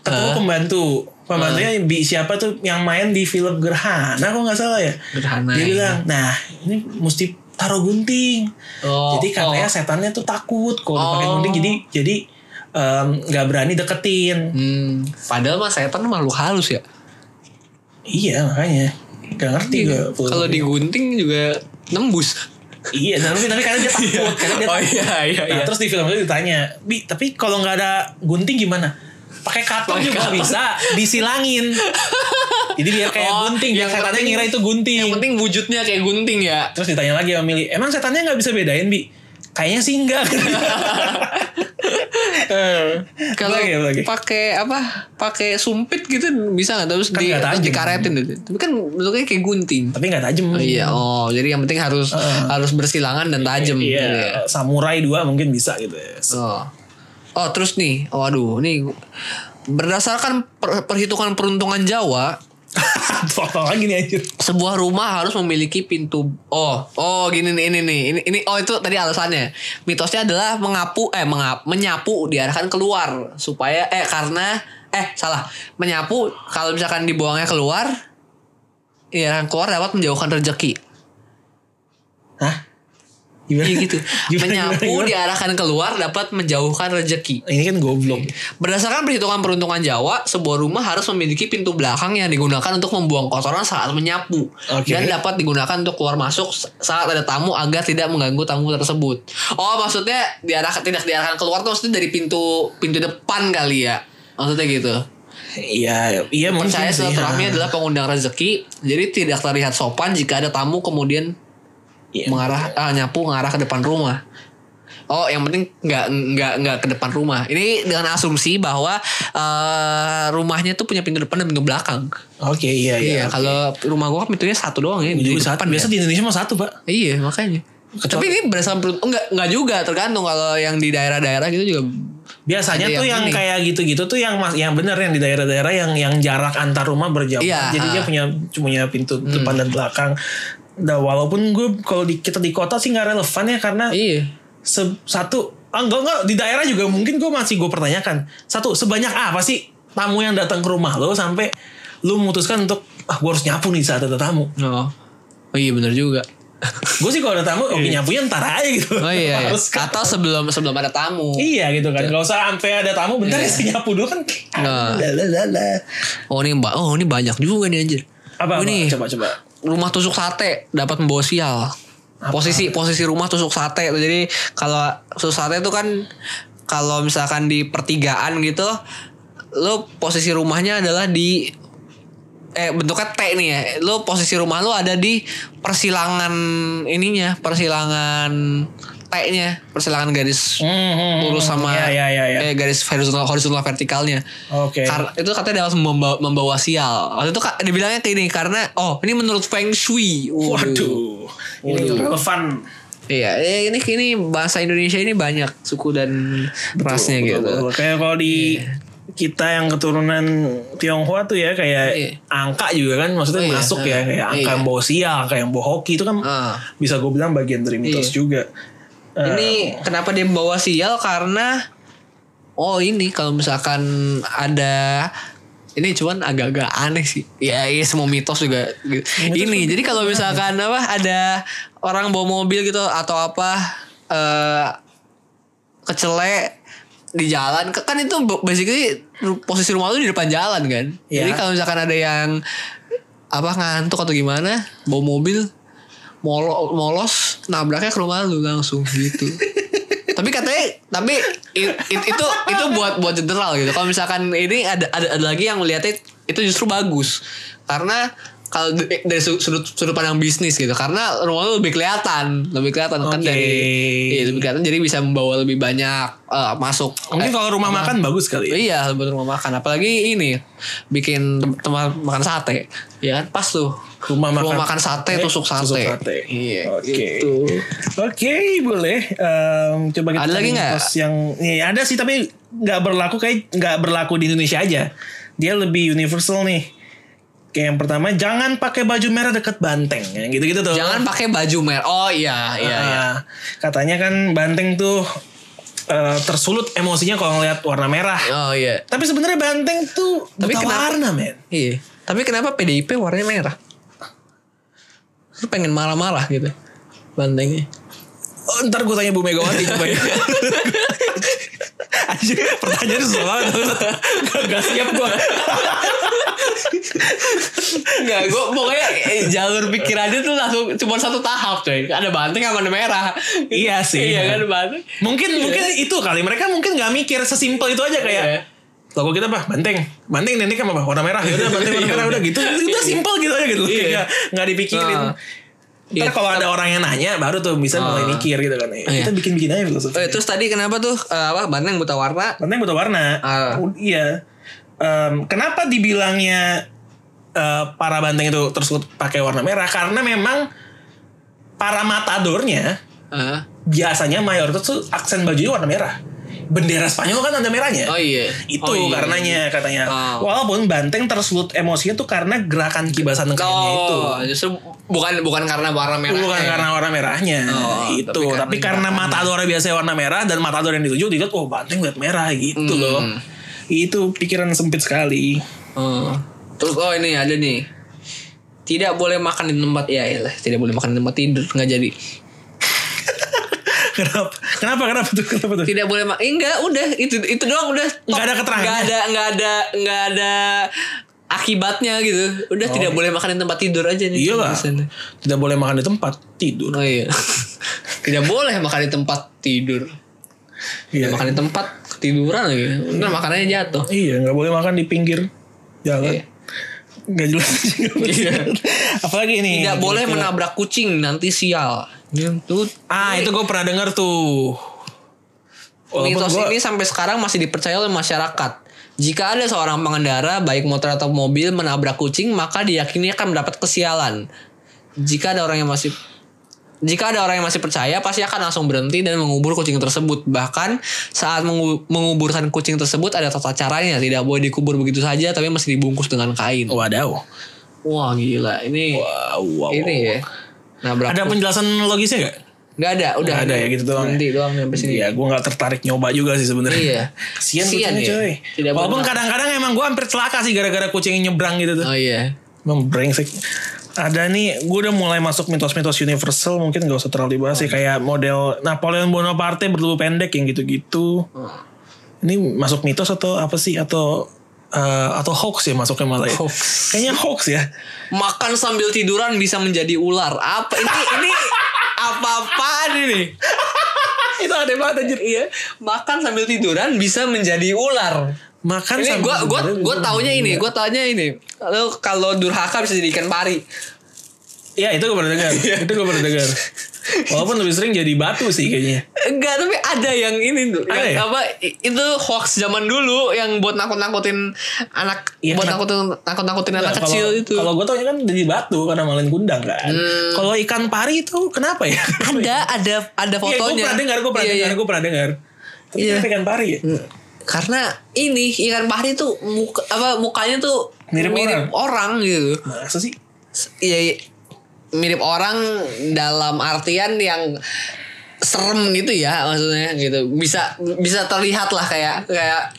A: ketemu pembantu pembantunya bi siapa tuh yang main di film Gerhana kok nggak salah ya
B: Gerhana,
A: dia
B: iya.
A: bilang nah ini mesti taruh gunting
B: Oh,
A: jadi kan ya. katanya
B: oh.
A: setannya tuh takut kalau dipakai
B: Oh.
A: gunting jadi jadi em, nggak berani deketin
B: Hmm, padahal mah setan makhluk halus ya.
A: iya makanya Gak ngerti gue
B: Iya. Kalau digunting juga nembus.
A: iya tapi tapi karena dia takut karena dia
B: oh iya iya
A: Nah,
B: iya.
A: terus di film itu ditanya, "Bi, tapi kalau nggak ada gunting gimana?" Pakai katon
B: Pakai
A: juga
B: katon.
A: bisa, disilangin. Jadi biar kayak
B: Oh,
A: gunting, biar
B: yang
A: setannya
B: penting-
A: ngira itu gunting.
B: Yang penting wujudnya kayak gunting ya.
A: Terus ditanya lagi sama Mili, "Emang setannya nggak bisa bedain, Bi?" Kayaknya sih enggak.
B: Kalau
A: Lagi, lagi.
B: pakai apa? Pakai sumpit gitu bisa nggak? Terus di,
A: Kan nggak tajam.
B: dikaretin gitu. Tapi kan bentuknya kayak gunting.
A: tapi nggak tajam.
B: Oh, iya. Oh, jadi yang penting harus harus bersilangan dan tajam.
A: Hmm. Iya,
B: Gitu ya.
A: samurai dua mungkin bisa gitu. ya.
B: Oh. Oh, terus nih. Oh, aduh, nih berdasarkan per- perhitungan peruntungan Jawa,
A: Apa lagi nih anjir.
B: sebuah rumah harus memiliki pintu oh oh gini nih ini nih ini ini oh itu tadi alasannya mitosnya adalah mengapu eh mengap menyapu diarahkan keluar supaya eh karena eh salah menyapu kalau misalkan dibuangnya keluar diarahkan keluar dapat menjauhkan rezeki
A: Hah? Gimana?
B: Iya gitu
A: Gimana,
B: menyapu
A: gimana, gimana?
B: diarahkan keluar dapat menjauhkan rezeki
A: Ini kan goblok.
B: Iya. Berdasarkan perhitungan peruntungan Jawa, sebuah rumah harus memiliki pintu belakang yang digunakan untuk membuang kotoran saat menyapu
A: Oke.
B: dan dapat digunakan untuk keluar masuk saat ada tamu agar tidak mengganggu tamu tersebut. Oh, maksudnya diarahkan tidak diarahkan keluar tuh maksudnya dari pintu pintu depan kali ya. Maksudnya gitu.
A: Iya, iya mungkin
B: Percaya
A: sih.
B: silaturahmi
A: Ha.
B: adalah pengundang rezeki, jadi tidak terlihat sopan jika ada tamu kemudian
A: Iya.
B: mengarah ah, nyapu mengarah ke depan rumah. Oh, yang penting nggak nggak nggak ke depan rumah. Ini dengan asumsi bahwa eh, rumahnya tuh punya pintu depan dan pintu belakang.
A: Oke, iya iya.
B: Iya, kalau rumah gua kan pintunya satu doang ya.
A: Ujung
B: di
A: satu.
B: depan
A: Biasa
B: ya.
A: di Indonesia mah satu, Pak.
B: Iya, makanya.
A: Kecuali-
B: Tapi ini berdasarkan perut enggak enggak juga tergantung kalau yang di daerah-daerah gitu juga
A: Biasanya
B: Ada
A: tuh yang
B: yang ini.
A: kayak gitu-gitu tuh yang mas, yang benar yang di daerah-daerah yang yang jarak antar rumah berjauhan.
B: Iya,
A: Jadi dia
B: ah. Hmm.
A: punya punya pintu depan dan belakang. Nah, walaupun gue kalau di, kita di kota sih nggak relevan ya karena
B: Iya.
A: se- satu ah, enggak enggak di daerah juga mungkin gue masih gue pertanyakan. Satu sebanyak apa sih tamu yang datang ke rumah lo sampai lu memutuskan untuk ah gue harus nyapu nih saat ada tamu.
B: Oh. Oh iya benar juga.
A: Gue sih kalau ada tamu oke nyapunya ntar aja gitu.
B: Iya. Oh iya. iya.
A: Males kan.
B: Atau sebelum sebelum ada tamu.
A: Iya gitu kan. Gak usah sampai ada tamu bentar ya saya nyapu dulu kan.
B: Iya. Nah.
A: Lalalala.
B: Oh ini mbak, oh ini banyak juga nih anjir.
A: Apa,
B: Oh,
A: apa?
B: ini
A: Coba coba.
B: rumah tusuk sate dapat membawa sial. Posisi posisi rumah tusuk sate tuh. jadi kalau tusuk sate itu kan kalau misalkan di pertigaan gitu lo posisi rumahnya adalah di eh bentuknya T nih ya. Lo posisi rumah lo ada di persilangan ininya, persilangan T-nya, persilangan garis
A: Hmm, hmm,
B: lurus
A: hmm.
B: sama
A: Iya, iya, iya, iya.
B: eh, garis horizontal horizontal vertikalnya.
A: Oke.
B: Karena itu katanya dapat membawa, membawa sial. Waktu itu ka- dibilangnya kayak ini karena oh ini menurut Feng Shui.
A: Waduh. Ini relevan.
B: Iya, eh, ini ini bahasa Indonesia ini banyak suku dan rasnya gitu. Iya.
A: Betul, Kayak kalau di kita yang keturunan Tionghoa tuh ya kayak
B: Iya.
A: angka juga kan maksudnya
B: Iya,
A: masuk
B: iya.
A: ya kayak angka
B: Iya.
A: yang bawa sial, angka yang bawa hoki itu kan
B: Ah. Iya.
A: bisa gue bilang bagian dari mitos juga. Eh,
B: Ini kenapa dia bawa sial karena oh ini kalau misalkan ada ini cuman agak-agak aneh sih. Ya, iya semua mitos juga. gitu. ini jadi kalau misalkan apa ada orang bawa mobil gitu atau apa eh kecele di jalan kan itu basically posisi rumah lu di depan jalan kan.
A: Iya.
B: Jadi kalau misalkan ada yang apa ngantuk atau gimana bawa mobil molo- molos nabraknya ke rumah lu langsung gitu tapi katanya tapi i- i- itu itu buat buat jenderal gitu kalau misalkan ini ada ada, ada lagi yang melihatnya itu justru bagus karena kalau d- dari su- sudut sudut pandang bisnis gitu karena rumah lu lebih kelihatan lebih kelihatan kan
A: Oke.
B: dari iya, lebih kelihatan jadi bisa membawa lebih banyak eh, masuk
A: mungkin
B: Eh,
A: kalau rumah makan bagus kali ya.
B: Iya buat rumah makan Apalagi ini Bikin tem- tempat makan sate Ya kan pas tuh
A: Rumah makan-
B: sate Tusuk sate,
A: Tusuk sate.
B: Iya
A: Oke.
B: gitu
A: Oke, boleh. Em, coba kita
B: Ada
A: cari
B: lagi nggak?
A: mitos yang ya, ada sih tapi nggak berlaku kayak nggak berlaku di Indonesia aja. Dia lebih universal nih. Kayak yang pertama, jangan pakai baju merah dekat banteng. Yang gitu-gitu tuh.
B: Jangan pakai baju merah Oh iya iya
A: Ah,
B: iya.
A: Katanya kan banteng tuh eh, tersulut emosinya kalau ngelihat warna merah.
B: Oh iya
A: Tapi sebenarnya banteng tuh
B: Tapi
A: buta
B: kenapa-
A: warna, men.
B: Iya Tapi kenapa PDIP warnanya merah Lu pengen marah-marah gitu Bantengnya
A: Oh, ntar gue tanya Bu Megawati coba ya. Anjir, pertanyaannya susah banget. Gak, gak siap gue.
B: Enggak gue Pokoknya eh, jalur pikirannya tuh langsung Cuma satu tahap coy Ada banteng sama ada merah
A: Iya sih.
B: Iya kan ada banteng
A: Mungkin mungkin itu kali mereka mungkin nggak mikir sesimpel itu aja kayak
B: Iya.
A: logo kita apa banteng banteng nenek apa warna merah ya udah banteng warna
B: Iya,
A: merah udah
B: bener.
A: gitu udah simpel gitu aja gitu
B: Iya.
A: kayak nggak dipikirin
B: Ah.
A: ntar
B: Iya, Ah.
A: kalau ada orang yang nanya baru tuh bisa mulai mikir gitu kan Eh,
B: Iya.
A: kita bikin bikin aja filosofi
B: Eh, terus tadi kenapa tuh eh, apa banteng buta warna?
A: banteng buta warna
B: Ah.
A: Oh, iya Em, kenapa dibilangnya eh, para banteng itu tersulut pakai warna merah karena memang para matadornya
B: Heeh.
A: biasanya mayoritas tuh aksen bajunya warna merah bendera Spanyol kan ada merahnya
B: oh iya.
A: itu
B: Oh, iya.
A: karenanya katanya
B: Oh.
A: walaupun banteng tersulut emosinya tuh karena gerakan kibasan tengkangnya itu
B: Oh, justru bukan bukan karena warna merah.
A: bukan karena warna merahnya Nah,
B: Oh,
A: itu
B: tapi
A: tapi, karena
B: karena gerakannya.
A: matadornya biasanya warna merah dan matador yang dituju dilihat oh banteng lihat merah gitu
B: Hmm.
A: loh itu pikiran sempit sekali
B: Oh. Terus oh ini ada nih. Tidak boleh makan di tempat ya, iyalah. tidak boleh makan di tempat tidur nggak jadi.
A: kenapa kenapa kenapa tuh kenapa tuh
B: Tidak boleh makan. enggak, udah itu itu doang udah. Stop.
A: Nggak ada keterangan.
B: Nggak ada nggak ada nggak ada akibatnya gitu. Udah tidak boleh makan di tempat tidur aja nih.
A: Oh. iya lah
B: tulisannya.
A: tidak boleh makan di tempat tidur
B: Oh iya. tidak boleh makan di tempat tidur.
A: iya
B: Makan di tempat ketiduran lagi. Ntar makanannya jatuh.
A: iya nggak boleh makan di pinggir jalan
B: Iya.
A: nggak jelas nggak jelas. apalagi ini
B: Tidak boleh
A: gitu.
B: menabrak kucing nanti sial. Itu
A: ah itu gue pernah dengar tuh Walaupun
B: mitos
A: gua-
B: ini sampai sekarang masih dipercaya oleh masyarakat. Jika ada seorang pengendara baik motor atau mobil menabrak kucing maka diyakini akan mendapat kesialan. Jika ada orang yang masih jika ada orang yang masih percaya pasti akan langsung berhenti dan mengubur kucing tersebut. Bahkan saat mengu- menguburkan kucing tersebut ada tata caranya, tidak boleh dikubur begitu saja tapi mesti dibungkus dengan kain.
A: Wadaw.
B: Wah gila, ini
A: Wow, wow.
B: ini ya. Nabrak
A: Ada penjelasan logisnya gak?
B: Gak ada, udah
A: Nggak ada ya, gitu doang
B: Berhenti
A: ya.
B: doang sampai sini.
A: Iya, gue gak tertarik nyoba juga sih sebenarnya.
B: Iya.
A: Kasian
B: Kasian
A: kucingnya
B: ya.
A: coy.
B: Tidak
A: Walaupun
B: pernah.
A: kadang-kadang emang gue hampir celaka sih gara-gara kucing yang nyebrang gitu tuh.
B: Oh iya.
A: Emang brengsek. Ada nih, gue udah mulai masuk mitos-mitos universal mungkin gak usah terlalu dibahas sih. Kayak model Napoleon Bonaparte bertubuh pendek yang gitu-gitu. Ini masuk mitos atau apa sih? Atau eh, atau hoax ya masuknya malah ya?
B: Hoax.
A: Kayaknya hoax ya.
B: Makan sambil tiduran bisa menjadi ular. Apa ini ini apa-apaan ini? Itu ada banget anjir. Iya. Makan sambil tiduran bisa menjadi ular.
A: Makan
B: Ini
A: Kan sambil
B: gue gua
A: tiduran
B: gua
A: bisa
B: taunya ini, gua taunya ini. Kalau kalau durhaka bisa jadi ikan pari.
A: Iya
B: Iya.
A: itu gue pernah dengar Itu gue pernah dengar Walaupun lebih sering jadi batu sih kayaknya
B: Enggak, tapi ada yang ini tuh.
A: Ada
B: yang
A: ya?
B: apa i- itu hoax zaman dulu yang buat nakut-nakutin anak
A: Iya,
B: buat
A: anak-
B: nakut nakut-nakutin anak
A: Nggak, Nah,
B: kecil
A: kalau-
B: itu. Hmm.
A: Kalau gue taunya kan dari batu karena malin kundang kan. Kalau ikan pari itu kenapa ya?
B: ada ada
A: Iya,
B: ada
A: gue
B: fotonya.
A: pernah dengar, gue pernah
B: Iya,
A: dengar,
B: iya.
A: gue pernah dengar. Tapi
B: Iya.
A: kenapa ikan pari ya?
B: Karena ini ikan pari tuh muka apa mukanya tuh
A: Mirip
B: orang gitu.
A: Masa sih?
B: Iya, iya. mirip orang dalam artian yang serem gitu ya maksudnya gitu bisa bisa terlihat lah kayak kayak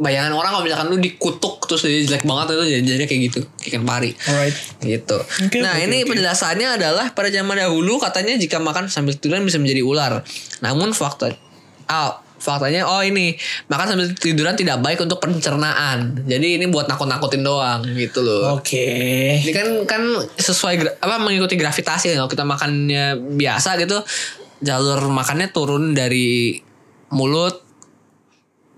B: bayangan orang kalau misalkan lu dikutuk terus jadi jelek banget itu jadi jadinya kayak gitu ikan pari
A: Alright.
B: gitu.
A: Oke,
B: nah
A: oke,
B: ini
A: oke.
B: penjelasannya adalah pada zaman dahulu katanya jika makan sambil tiduran bisa menjadi ular. Namun fakta ah, faktanya oh ini makan sambil tiduran tidak baik untuk pencernaan. Jadi ini buat nakut-nakutin doang gitu loh.
A: Oke.
B: Ini kan kan sesuai gra- apa mengikuti gravitasi ya, kalau kita makannya biasa gitu jalur makannya turun dari mulut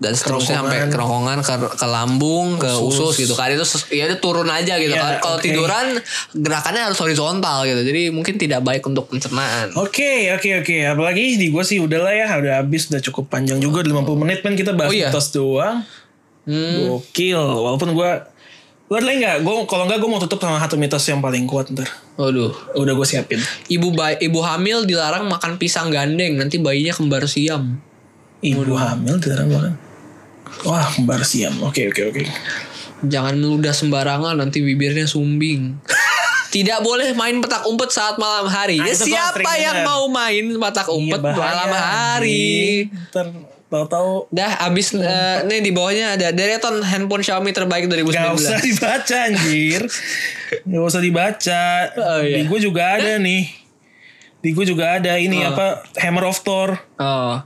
B: dan seterusnya sampai kerongkongan ke, ke lambung ke usus, gitu kan itu ses- ya itu turun aja
A: Ya,
B: gitu kan kalau
A: oke.
B: tiduran gerakannya harus horizontal gitu jadi mungkin tidak baik untuk pencernaan
A: Oke, oke, oke. Apalagi di gue sih udah lah ya, udah habis, udah cukup panjang juga 50 menit men kita bahas
B: Oh, iya.
A: mitos doang.
B: Hmm.
A: Gokil. Walaupun gue Lu ada lagi gak? Gua, kalau enggak gue mau tutup sama satu mitos yang paling kuat ntar.
B: waduh
A: Udah gue siapin.
B: ibu ba- ibu hamil dilarang makan pisang gandeng nanti bayinya kembar siam
A: Ibu hamil dilarang makan. Wah, kembar siam. Oke, oke, oke.
B: jangan meludah sembarangan nanti bibirnya sumbing tidak boleh main petak umpet saat malam hari
A: Ah,
B: ya
A: itu gua sering
B: siapa yang
A: denger.
B: mau main petak
A: Iya,
B: umpet malam
A: bahaya,
B: hari
A: anjing. Iya. Ntar tahu-tahu
B: Dah abis eh, nih di bawahnya ada deretan handphone Xiaomi terbaik 2019.
A: Gak usah dibaca anjir Gak usah dibaca
B: Oh, iya.
A: Di gue juga ada nih Di gue juga ada ini apa Hammer of Thor
B: Oh.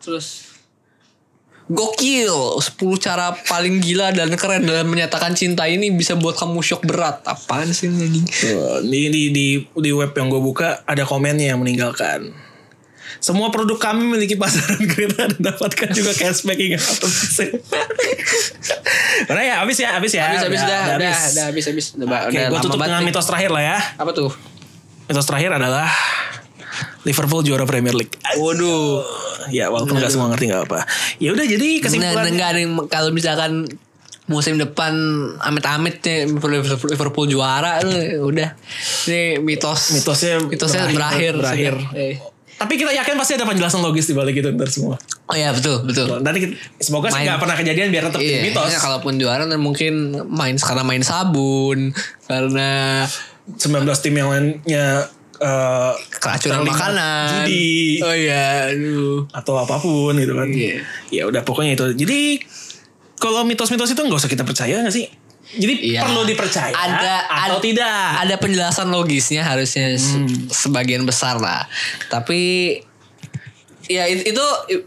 B: Terus Gokil, 10 cara paling gila dan keren dalam menyatakan cinta ini bisa buat kamu shock berat. Apaan sih ini anjing?
A: di, di, di, di web yang gue buka Ada komennya yang meninggalkan semua produk kami memiliki pasaran kereta dan dapatkan juga cashback hingga 100%. Udah ya, habis ya, habis ya.
B: Habis habis
A: Udah,
B: dah,
A: udah
B: udah,
A: habis.
B: udah habis habis. Udah,
A: Oke,
B: udah
A: gue
B: lama
A: tutup
B: banget
A: dengan
B: nih.
A: mitos terakhir lah ya.
B: Apa tuh?
A: Mitos terakhir adalah Liverpool juara Premier League.
B: Waduh.
A: Ya, walaupun nggak semua ngerti nggak apa. Ya udah, jadi
B: Nah,
A: kesimpulan
B: enggak nih kalau misalkan musim depan amit-amit nih Liverpool Liverpool juara eh, udah. Ini mitos.
A: Mitosnya
B: mitosnya berakhir.
A: berakhir.
B: Eh.
A: Tapi kita yakin pasti ada penjelasan logis di balik itu ntar semua.
B: Oh iya betul, betul.
A: Nanti kita- semoga sih
B: Main.
A: nggak pernah kejadian biar tetap
B: Iya,
A: mitos.
B: mitos. kalaupun juara dan mungkin main karena main sabun, karena
A: 19 tim yang lainnya eh,
B: keracunan
A: terlibat
B: makanan.
A: judi
B: Oh iya, aduh.
A: atau apapun gitu kan.
B: Iya.
A: Ya udah pokoknya itu. Jadi kalau mitos-mitos itu nggak usah kita percaya nggak sih? Jadi
B: Iya.
A: perlu dipercaya
B: Ada
A: atau
B: ad-
A: tidak? Hmm.
B: Ada penjelasan logisnya harusnya se- sebagian besar lah. Tapi ya it- itu i-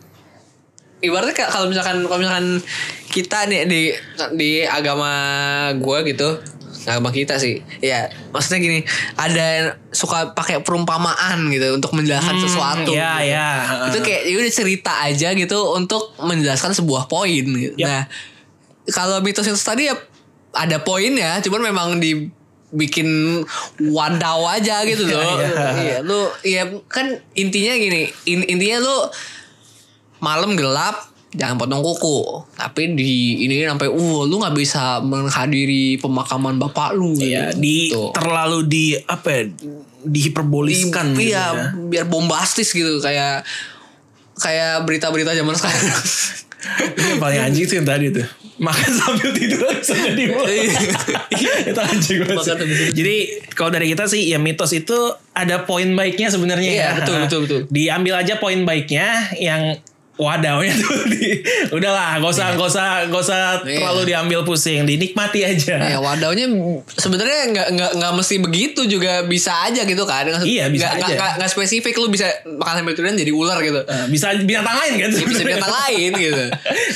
B: ibaratnya kayak kalau misalkan kalau misalkan kita nih di di agama gua gitu agama kita sih ya maksudnya gini ada yang suka pakai perumpamaan gitu untuk menjelaskan sesuatu
A: ya,
B: gitu.
A: ya.
B: itu kayak ya udah cerita aja gitu untuk menjelaskan sebuah poin gitu.
A: Yap.
B: Nah, kalau mitos itu tadi ya ada poinnya, cuman memang dibikin wadaw aja gitu
A: Iya,
B: loh.
A: iya.
B: Iya, lu ya kan intinya gini, in- intinya lu malam gelap jangan potong kuku tapi di ini sampai uh lu nggak bisa menghadiri pemakaman bapak lu
A: Ya, di
B: Gitu.
A: terlalu di apa ya? Dihiperboliskan
B: Iya,
A: gitu ya.
B: biar bombastis gitu kayak kayak berita-berita zaman sekarang.
A: Ini yang paling anjing sih yang tadi tuh makan sambil tidur bisa jadi ular.
B: Iya.
A: itu anjing banget
B: Makan
A: sih.
B: sambil tidur.
A: jadi kalau dari kita sih ya mitos itu ada poin baiknya sebenarnya
B: Iya,
A: ya
B: betul, betul, betul.
A: diambil aja poin baiknya yang wadahnya tuh di, udahlah gak usah gak usah gak usah
B: Iya.
A: terlalu diambil pusing dinikmati
B: ya
A: aja
B: wadahnya sebenarnya nggak nggak nggak mesti begitu juga bisa aja gitu kan. Nggak-
A: Iya, bisa
B: nggak-
A: aja.
B: nggak- nggak- nggak spesifik lu bisa makan sambil tiduran jadi ular gitu.
A: Eh, bisa binatang lain kan
B: Ya, bisa
A: sebenarnya.
B: binatang lain gitu.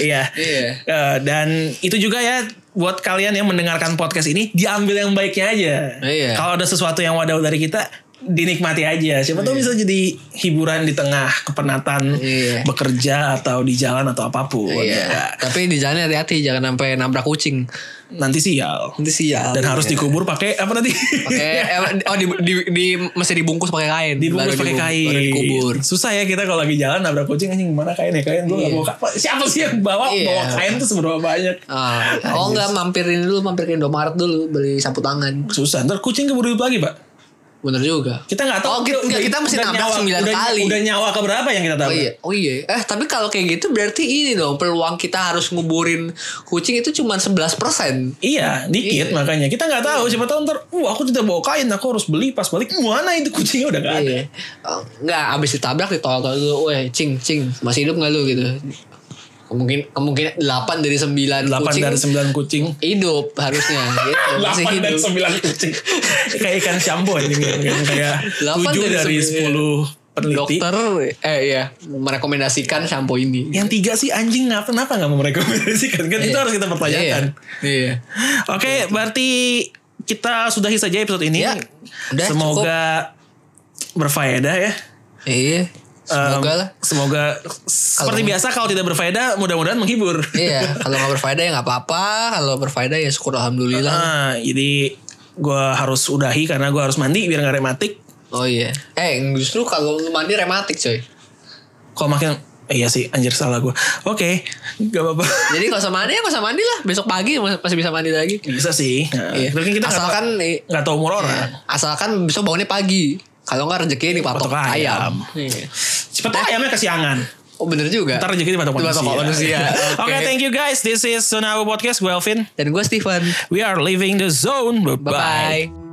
A: Iya.
B: Iya.
A: Eh, dan itu juga ya buat kalian yang mendengarkan podcast ini diambil yang baiknya aja.
B: Iya.
A: Kalau ada sesuatu yang wadah dari kita dinikmati aja. Siapa tahu bisa jadi hiburan di tengah kepenatan
B: Iya.
A: bekerja atau di jalan atau apapun. ya.
B: Iya. Tapi di jalan hati-hati jangan sampai nabrak kucing.
A: Nanti sial.
B: Nanti sial. Iya.
A: Dan harus dikubur pakai apa nanti?
B: pakai eh, oh di, di, di mesti dibungkus pakai kain.
A: dibungkus
B: Baru
A: pakai
B: dibu-
A: kain.
B: Baru dikubur.
A: Susah ya kita kalau lagi jalan nabrak kucing anjing gimana kain ya kain gue nggak bawa apa. Siapa sih yang bawa
B: Iya.
A: bawa kain tuh seberapa banyak?
B: Ah, oh enggak mampirin dulu mampir ke Indomaret dulu beli sapu tangan.
A: Susah. Ntar kucing keburu hidup lagi pak.
B: Bener juga.
A: Kita nggak tahu.
B: Oh, kita-
A: udah-
B: kita mesti
A: udah
B: nabrak
A: nyawa-
B: sembilan
A: udah-
B: kali.
A: Udah nyawa keberapa yang kita tahu?
B: Oh iya, oh iya. Eh tapi kalau kayak gitu berarti ini dong peluang kita harus nguburin kucing itu cuma 11 persen.
A: Iya, dikit makanya. Kita nggak
B: Iya.
A: tahu siapa tahu ntar, uh aku tidak bawa kain, aku harus beli pas balik. Mana itu kucingnya udah nggak ada.
B: Iya. Oh, Enggak, abis ditabrak ditolak dulu. Weh, cing, cing, masih hidup nggak lu gitu? Mungkin kemungkinan 8 dari
A: 8
B: 9 kucing
A: dari 9 kucing.
B: hidup harusnya gitu.
A: 8
B: Masih
A: dari
B: hidup.
A: 9 kucing. kayak ikan shampoo ini kan. kayak
B: Delapan
A: 7
B: dari
A: dari
B: sembilan.
A: 10 peneliti.
B: Dokter eh iya merekomendasikan shampoo ini.
A: Yang tiga sih anjing kenapa kenapa nggak mau merekomendasikan kan Iya, itu harus kita pertanyakan.
B: Iya.
A: Oke, berarti kita sudahi saja episode ini.
B: Ya, udah,
A: Semoga berfaedah ya.
B: Iya. Iya. Semoga
A: Em,
B: lah.
A: Semoga seperti biasa kalau tidak berfaedah mudah-mudahan menghibur.
B: Iya, kalau nggak berfaedah ya nggak apa-apa. Kalau berfaedah ya syukur alhamdulillah.
A: Ah, jadi gue harus udahi karena gue harus mandi biar gak rematik.
B: Oh iya. Eh, justru kalau lu mandi rematik, coy.
A: Kalau makin eh, iya sih anjir salah gue. Oke, nggak apa-apa.
B: Jadi kalau sama mandi ya nggak usah mandi lah. Besok pagi mas- masih bisa mandi lagi.
A: Bisa sih. Nah,
B: Iya.
A: tapi kita
B: Asalkan Iya. i-
A: nggak tahu umur orang.
B: asalkan besok bangunnya pagi. Kalau nggak rezeki dipatok
A: Patok ayam.
B: ayam. Iya.
A: Cepet ayamnya kesiangan.
B: Oh bener juga.
A: Ntar jadi patok
B: Dipatok
A: manusia.
B: manusia.
A: Oke, thank you guys. This is Sonawu Podcast. Gue Alvin.
B: Dan gue Steven.
A: We are leaving the zone. Bye-bye.
B: Bye-bye.